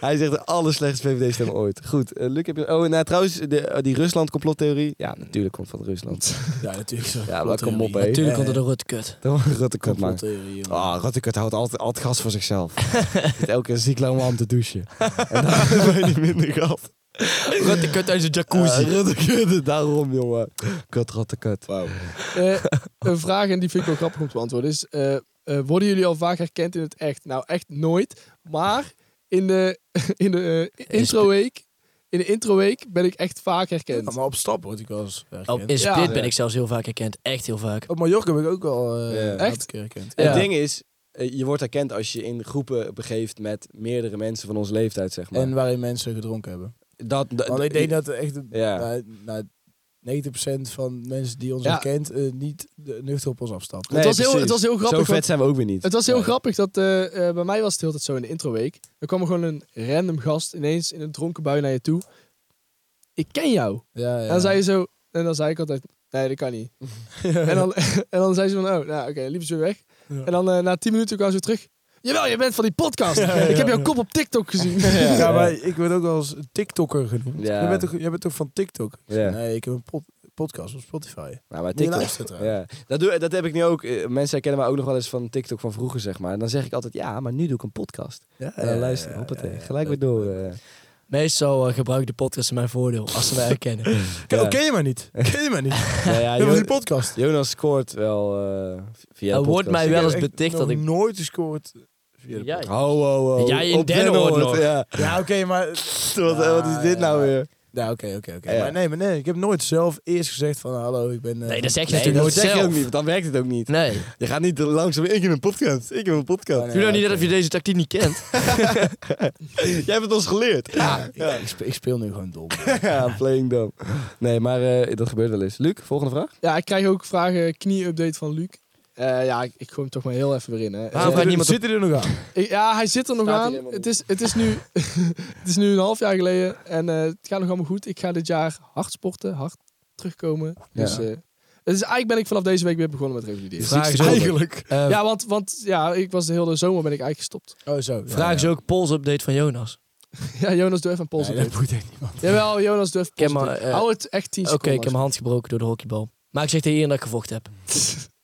B: Hij zegt de allerslechtste VVD-stem ooit. Goed, eh, Luc, heb je... Oh, nou, trouwens, de, eh, die Rusland-complottheorie. Ja, natuurlijk komt van Rusland.
E: Ja, natuurlijk. zo.
B: Ja, maar kom op, hè.
D: Natuurlijk komt het door het kut.
B: Dan wordt Rutte kut maken.
E: Complottheorie, jongen.
B: Ah, Ruttekut houdt altijd, altijd gas voor zichzelf. Zit elke keer ziek lang aan te douchen. en daarom ben je minder gas. Eh,
D: Rutte kut uit zijn
B: Koezie.
D: jacuzzi.
B: Ruttekut, daarom jongen. Kut, Ruttekut.
C: Eh, een vraag, en die vind ik wel grappig om te beantwoorden, is... eh, eh, worden jullie al vaak herkend in het echt? Nou, echt nooit. Maar in de, in de eh, introweek... In de introweek ben ik echt vaak
E: Ja,
C: herkend.
E: maar op stap word ik wel eens herkend.
D: Op, Oh, in
C: Ja.
D: Split ben ik zelfs heel vaak herkend. Echt heel vaak.
E: Op Mallorca heb ik ook al
B: Ja.
E: eh, een
C: Echt?
E: aantal keer herkend.
B: Het
E: Ja.
B: ding is, eh, je wordt herkend als je in groepen begeeft met meerdere mensen van onze leeftijd, zeg maar.
E: En waarin mensen gedronken hebben.
B: dat, dat-
E: Want ik denk dat echt
B: Ja.
E: nou, nou, 90% van mensen die ons
C: Ja.
E: herkent eh, niet de- nuchter op ons afstapt.
B: Nee,
C: het, was heel,
B: precies.
C: het was heel grappig.
B: Zo vet
C: want-
B: zijn we ook weer niet.
C: Het was heel
B: Nee.
C: grappig dat eh, eh, bij mij was het heel tijd zo in de introweek. Dan kwam er gewoon een random gast ineens in een dronken bui naar je toe. Ik ken jou.
E: Ja,
C: En
E: ja.
C: dan zei je zo, en dan zei ik altijd, nee, dat kan niet. en, dan, en dan zei ze van, oh, nou oké, liever zo weg.
E: Ja.
C: En dan eh, na 10 minuten kwam ze terug. Jawel, je bent van die podcast.
E: Ja, ja,
C: ik heb
E: ja.
C: jouw kop op TikTok gezien.
E: Ja,
B: ja.
E: maar ik word ook wel als TikToker genoemd.
B: Ja.
E: Jij, bent toch, jij bent toch van TikTok? Ik zei,
B: Ja.
E: Nee, ik heb een pod- podcast op Spotify.
B: Nou, maar
E: Die
B: TikTok.
E: luistert trouwens.
B: Ja. Dat, doe, dat heb ik nu ook. eh, Mensen herkennen mij ook nog wel eens van TikTok van vroeger, zeg maar. En dan zeg ik altijd, ja, maar nu doe ik een podcast.
E: Ja,
B: En dan luister ik, hoppatee, gelijk weer door. eh.
D: Meestal eh, gebruik ik de podcast in mijn voordeel. Als ze mij herkennen.
E: Ken, oh,
B: Ja.
E: ken je mij niet? Ken je mij niet?
B: Ja, ja,
E: Heel
B: Jo-
E: die podcast.
B: Jonas scoort wel eh, via de
D: Er wordt
B: podcast.
D: mij wel eens
E: Ik heb echt
D: beticht dat
E: nog
D: ik...
E: nooit gescoord via de
D: Jij.
E: podcast.
B: Ho, ho, ho.
D: Jij in
B: Op Den
D: Dennenhoord nog.
B: Ja.
E: Ja, oké, maar...
B: Wat,
E: Ja,
B: wat is dit
E: ja,
B: nou
E: maar-
B: weer?
E: Ja, oké, oké, oké.
B: Ja.
E: Maar nee, maar nee, ik heb nooit zelf eerst gezegd van hallo, ik ben... eh,
D: Nee, dat zeg je
B: Nee,
D: natuurlijk
B: dat
D: nooit
B: zeg je
D: zelf.
B: ook niet, want dan werkt het ook niet.
D: Nee.
B: Je gaat niet langzaam, ik heb een podcast, ik heb een podcast.
E: Ja,
D: Doe nou niet
E: oké.
D: dat je deze tactiek niet kent.
B: Jij hebt het ons geleerd.
E: Ja, ik, speel, ik speel nu gewoon dom.
B: Ja, playing dumb. Nee, maar eh, dat gebeurt wel eens. Luc, volgende vraag?
C: ja, ik krijg ook vragen, knie-update van Luc. Eh, ja, ik, ik gooi hem toch maar heel even weer in. Hè.
D: Waarom
C: Eh,
D: gaat niemand op...
E: Zit hij er nog aan?
C: Ik- ja, hij zit er nog
B: Staat hij
C: aan.
B: helemaal
C: Het is, het, is nu, het is nu een half jaar geleden en eh, het gaat nog allemaal goed. Ik ga dit jaar hard sporten, hard terugkomen. Dus eh, het is, eigenlijk ben ik vanaf deze week weer begonnen met revalideren.
D: Vraag is ook...
E: Eigenlijk.
D: eh,
C: Ja, want, want ja, ik was de hele zomer ben ik eigenlijk gestopt.
E: Oh, zo. Ja,
D: Vraag is ook polsupdate van Jonas.
C: Ja, Jonas, doe even een pols
E: Nee, dat boeit echt niemand.
C: Jawel, Jonas, doe even
D: Ik heb
C: een pols
D: maar, eh,
C: Hou het echt 10
D: Oké,
C: seconden.
D: ik heb mijn hand gebroken door de hockeybal. Maar ik zeg tegen iedereen dat ik gevochten heb.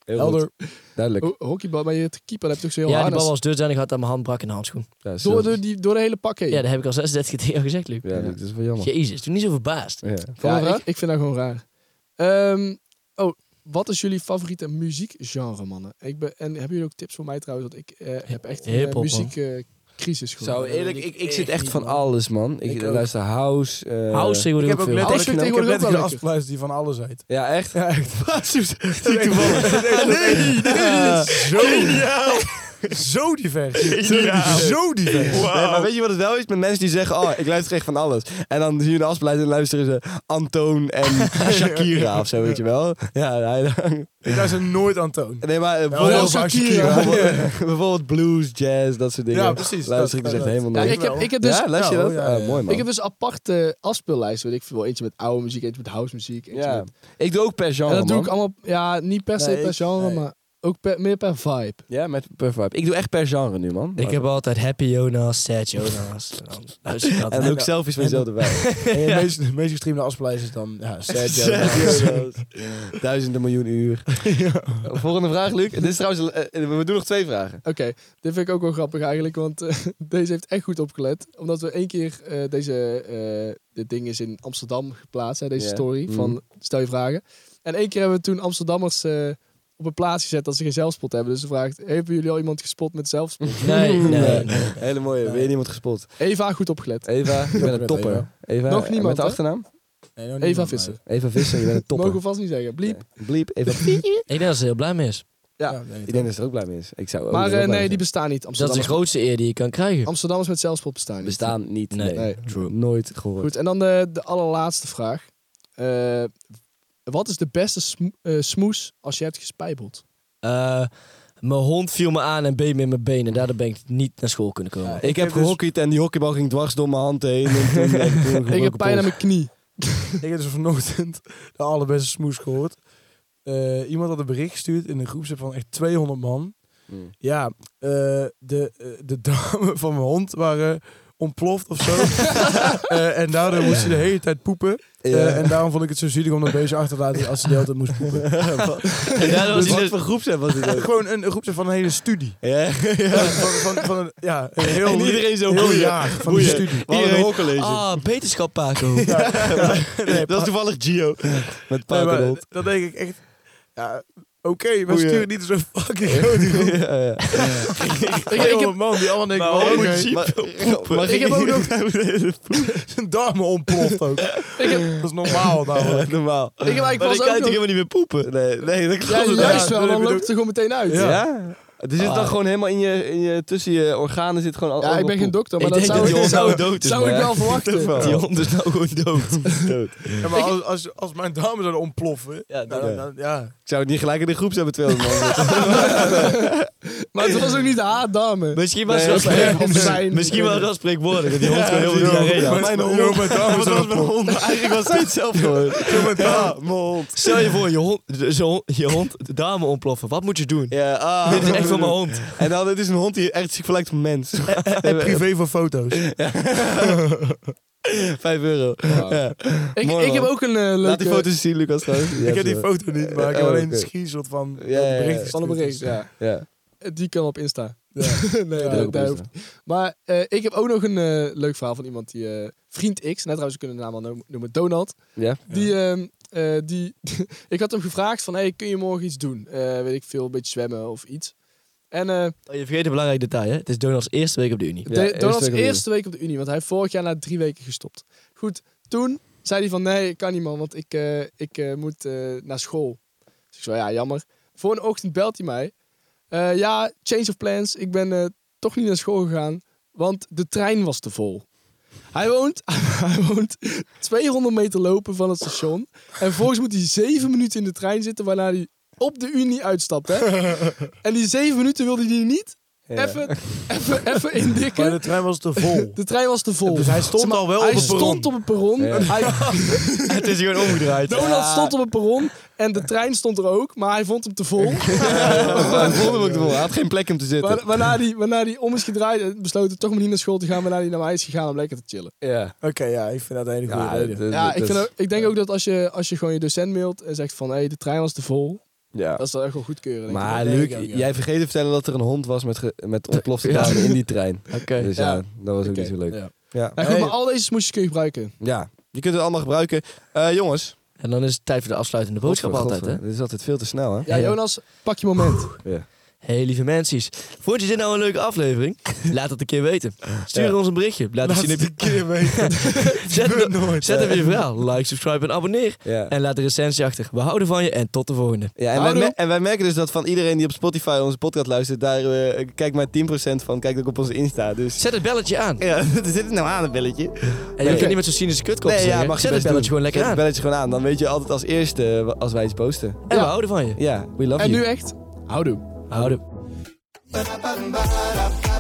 B: Heel
E: Helder.
B: Duidelijk.
C: Ho- hockeybal, maar je keeper hebt toch zo heel
D: ja, die
C: hard.
D: bal
C: als-
D: was dusdanig hard dat mijn hand brak in de handschoen.
B: Ja,
C: door,
B: Silver.
C: door, die, door de hele pak heen.
D: Ja, dat heb ik al 36 keer tegen jou gezegd, Luc.
B: Ja, Luc, dat is wel jammer.
D: Jezus, doe niet zo verbaasd.
B: Ja.
C: Ja,
B: Volgende vraag?
C: ik, ik vind dat gewoon raar. Ehm, oh, wat is jullie favoriete muziekgenre, mannen? Ik ben, en hebben jullie ook tips voor mij trouwens? Want ik eh, heb echt een
D: Hip-hop,
C: muziekcrisis gewoon.
B: Zo eerlijk, ik, ik zit echt van alles, man. Ik,
E: Ik ook.
B: luister house. eh,
D: House tegenwoordig
E: ik heb
D: ook
E: ook
D: veel.
E: letterlijk, ik
C: Alles vind ik
E: heb
C: tegenwoordig ook wel
E: letterlijk
C: lekker.
E: afsluiters die van alles uit.
B: Ja, echt? Ja, echt.
E: Nee, dit is Ah, zo, zo divers. Zo divers.
B: Nee, maar weet je wat het wel is? Met mensen die zeggen, oh, ik luister echt van alles. En dan zie je de afsluiting en luisteren ze Antoon en Shakira of zo, weet je wel. Ja, nee,
E: Ik luister nooit aan toon.
B: nee maar eh,
E: Wel heel
B: bijvoorbeeld,
E: vaak
B: Shakira.
E: Shakira.
B: Bijvoorbeeld, bijvoorbeeld blues, jazz, dat soort dingen.
E: Ja, precies.
B: Luister ik
E: Dat-
B: dus echt
E: dat-
B: helemaal
C: Ja,
B: nooit.
C: ik, heb,
E: wel.
C: ik heb dus...
B: ja, luister je
E: Ja,
B: dat?
E: oh, ja,
B: Ah,
E: ja.
B: mooi man.
C: Ik heb dus aparte afspeellijsten. Weet ik veel. Eentje met oude muziek, eentje met house muziek. Eentje
B: ja.
C: met...
B: ik doe ook per genre,
C: dus- en dat doe
B: man.
C: ik allemaal, ja, niet per se
E: Nee,
C: per
E: ik-
C: genre,
E: nee.
C: maar ook per, meer per vibe.
B: Ja, met per vibe. Ik doe echt per genre nu, man.
D: Ik heb altijd happy Jonas, sad Jonas. En dan luister ik altijd.
B: en ook selfies van jezelf erbij.
E: En je meest, de meest gestreamde afspeellijst is dan ja, Sergio.
B: Duizenden miljoen uur. Volgende vraag, Luc. Dit is trouwens, eh, we doen nog twee vragen.
C: Oké, dit vind ik ook wel grappig eigenlijk, want eh, deze heeft echt goed opgelet. Omdat we één keer eh, deze, eh, dit ding is in Amsterdam geplaatst, hè, deze
B: Ja.
C: story
B: Mhm.
C: van Stel je vragen. En één keer hebben we toen Amsterdammers eh, op een plaats gezet dat ze geen zelfspot hebben. Dus ze vraagt, hebben jullie al iemand gespot met zelfspot?
D: Nee,
B: Nee.
D: nee.
B: Hele mooie. Weer niemand gespot.
C: Eva, goed opgelet.
B: Eva, je bent een topper. Eva, eh,
C: Nog niemand,
B: Met de
C: hè?
B: achternaam?
E: Nee, nog
C: Eva
E: niemand,
C: Visser.
B: Eva Visser, je bent een topper.
C: Mogen we vast niet zeggen. Bliep.
B: Nee. Bliep, Eva.
D: Ik denk dat ze heel blij mee is.
B: Ja,
E: maar- Ja, denk
B: Ik
E: ik
B: denk dat ze er ook blij mee is. Ik zou ook
C: Maar
B: er ook
C: eh,
B: blij
C: nee, die
B: mee
C: bestaan niet.
D: Dat is de
C: Amsterdammers,
D: grootste eer die je kan
B: Oh.
D: krijgen.
C: Amsterdammers met zelfspot bestaan
B: zijn.
C: niet.
B: bestaan niet.
D: Nee.
B: Nee.
C: Nee.
D: True.
B: Nooit gehoord.
C: Goed, en dan eh, de, de allerlaatste vraag. Eh, wat is de beste smo- eh, smoes als je hebt gespijbeld?
D: Eh, mijn hond viel me aan en beet me in mijn benen. Daardoor ben ik niet naar school kunnen komen.
B: Ik heb gehockeyd en die hockeybal ging dwars door mijn hand eh. heen. En toen, heb ik toen
C: Ik heb pijn aan
B: aan
C: mijn knie.
E: Ik heb dus vanochtend de allerbeste smoes gehoord. Eh, iemand had een bericht gestuurd in een groepsapp van echt 200 man.
B: Mm.
E: Ja, eh, de, eh, de darmen van mijn hond waren ontploft of zo. Eh, en daardoor moest hij de hele tijd poepen. Eh, en daarom vond ik het zo zielig om dat beestje achter te laten als hij de hele tijd moest poepen.
D: En daardoor
B: Wat
D: was hij dus-
B: voor groep zijn was dit ook?
E: Gewoon een, een groepsapp van een hele studie.
B: Ja.
E: Van, van, van een, ja, een heel,
B: En iedereen zo
E: heel
B: boeien.
E: jaar van een
B: Boeien.
E: studie.
B: Wat een
D: Iedereen-
B: hokkenlezen.
D: Oh, Ah, beterschap Paco.
B: dat is toevallig Gio. Met
E: Nee,
B: paard
E: maar
B: en hond.
E: dan denk ik echt, ja, oké, maar
B: Boeien.
E: stuur niet zo'n fucking grote groep.
B: Ja, ja.
E: Ik heb een man die allemaal denkt, oh, oké.
B: Maar- maar
E: Ik heb
B: ging-
E: ook nog zijn darmen ontploft ook. Dat is normaal nou, namelijk.
B: Normaal. Ik
C: heb eigenlijk pas
B: maar dan
C: ook
B: kan je
C: nog-
B: toch helemaal niet meer poepen? Nee, nee dat
C: Ja,
B: klopt het
C: juist wel.
E: dat
C: Dan
E: bedoel-
C: loopt het er gewoon meteen uit.
B: Ja?
C: Ja,
B: Er zit dan gewoon helemaal in je, in je, tussen je organen zit gewoon al al
C: ik ben
B: poep.
C: geen dokter, maar
D: Ik
C: dat
D: denk dat
C: zou,
D: die hond
C: ik,
D: nou dood is.
C: zou ik
D: man.
C: wel verwachten.
B: wel.
D: Die hond is nou gewoon dood.
B: Dood.
E: Ja, maar als, als, als mijn darmen zouden ontploffen,
D: Ja,
E: ja,
D: dan-
E: dan, dan- ja.
B: Ik zou het niet gelijk in de groep zijn met 200 man.
C: Maar het was ook niet haar darmen.
D: Misschien was
B: Nee,
D: dat
B: nee,
D: spree-
C: of zijn.
D: Misschien was dat spreekwoordelijk. dat Die hond gewoon heel
B: die
D: veel
B: hond,
D: iedereen.
B: ja.
D: had.
B: Mijn hond.
E: Yo, mijn
B: Dat
E: darmen
B: was
E: zouden
B: mijn hond. Maar Eigenlijk was het niet zelf gewoon. Ja, mijn hond.
D: Stel je voor, je hond, zo, je hond de dame ontploffen. Wat moet je doen?
B: Ja, ah.
D: Dit is echt voor mijn hond.
B: En dan, dit is een hond die echt zich vergelijkt op een mens.
E: En privé voor foto's.
B: Vijf euro. Ja.
C: Ik,
B: Mooi,
C: ik heb
B: man.
C: ook een eh, leuke...
B: Laat die foto's zien, Lucas. trouwens.
E: ik heb die
B: zo.
E: foto niet, maar ik heb
B: Oh,
E: alleen
B: oké.
E: een screenshot van
B: Ja, ja, ja.
E: het bericht.
C: Van een bericht,
E: gestuurd.
C: ja.
B: Ja.
C: Die kan op Insta. nee,
B: Ja,
C: dat,
B: ook
C: dat
B: best,
C: hoeft Maar eh, ik heb ook nog een eh, leuk verhaal van iemand die... eh, vriend X, nou trouwens, we kunnen de naam al no- noemen, Donald.
B: Ja.
C: Die, ehm, eh, die, ik had hem gevraagd van, hey, kun je morgen iets doen? Eh, weet ik veel, een beetje zwemmen of iets. En eh,
D: Oh, je vergeet een belangrijk detail, hè? Het is Donald's eerste week op de Unie.
C: De-
B: Ja, eerste
C: Donald's
B: week op de
C: eerste week op de Unie, want hij heeft vorig jaar na drie weken gestopt. Goed, toen zei hij van nee, ik kan niet man, want ik, eh, ik eh, moet eh, naar school. Dus ik zei ja, jammer. Voor een ochtend belt hij mij. Eh, ja, change of plans, ik ben eh, toch niet naar school gegaan, want de trein was te vol. Hij woont, hij woont 200 meter lopen van het station. En volgens moet hij zeven minuten in de trein zitten, waarna hij op de Unie uitstapt. Hè? En die zeven minuten wilde hij niet even, even, even
E: Maar
C: indikken.
E: de trein was te vol.
C: De trein was te vol.
E: Dus hij stond
C: Zeg maar,
E: al wel
C: hij
E: op het perron.
C: stond op het perron. Hij,
D: Het is gewoon omgedraaid.
C: Donald stond op het perron en de trein stond er ook, maar hij vond hem te vol.
B: Ja, ik vond hem ook te vol. Hij had geen plek om te zitten.
C: Waar- Waarna hij, waarna hij om is gedraaid en besloten toch maar niet naar school te gaan, waarna hij naar mij is gegaan om lekker te chillen.
B: Ja.
E: Oké, ja, ik vind dat een hele goede reden.
C: Ja, ik, vind ook- ik denk ook dat als je, als je gewoon je docent mailt en zegt van hé, hey, de trein was te vol,
B: Ja.
C: dat is wel echt wel goedkeuren. denk ik.
B: Maar
E: denk
B: Luc,
E: ik ook, ja.
B: jij vergeet te vertellen dat er een hond was met, ge- met ontplofte daden in die trein.
D: Oké.
B: Dus ja,
C: Ja.
B: dat was ook
C: Oké.
B: niet zo leuk. Ja.
E: Ja.
B: Ja. Oh,
C: Nou, goed, maar al deze smoesjes kun je gebruiken.
B: je kunt het allemaal gebruiken. Eh, jongens.
D: En dan is het tijd voor de afsluitende boodschap
B: Godver,
D: altijd, hè?
B: godver, Dit is altijd veel te snel, hè?
C: Ja, Jonas, pak je moment.
B: Ja.
D: Hey lieve mensen, vond je dit nou een leuke aflevering? Laat het een keer weten. Stuur
B: Ja.
D: ons een berichtje. Laat,
E: Laat
D: het zien.
E: het een keer weten.
D: Zet,
E: gebeurt
D: hem-
E: nooit,
D: zet
E: hè.
D: even je verhaal. Like, subscribe en abonneer.
B: Ja.
D: En laat een recensie achter. We houden van je en tot de volgende.
B: Ja, en, wij
C: Houdoe.
B: me- en wij merken dus dat van iedereen die op Spotify onze podcast luistert, daar eh, kijkt maar 10% van, kijkt ook op onze Insta. Dus
D: Zet het belletje aan.
B: ja, er zit nou aan, een belletje.
D: En je hoeft niet met zo'n cynische kutkop te
B: Nee, ja,
D: zeggen.
B: mag je
D: Zet het
B: best doen.
D: belletje gewoon lekker
B: Zet
D: aan.
B: het belletje gewoon aan. Dan weet je altijd als eerste eh, als wij iets posten.
D: En we houden van je.
B: Ja, we love
C: En
B: you.
C: nu echt, houdoe.
D: Houden.
E: Ba-da-ba-ba-ba-ba.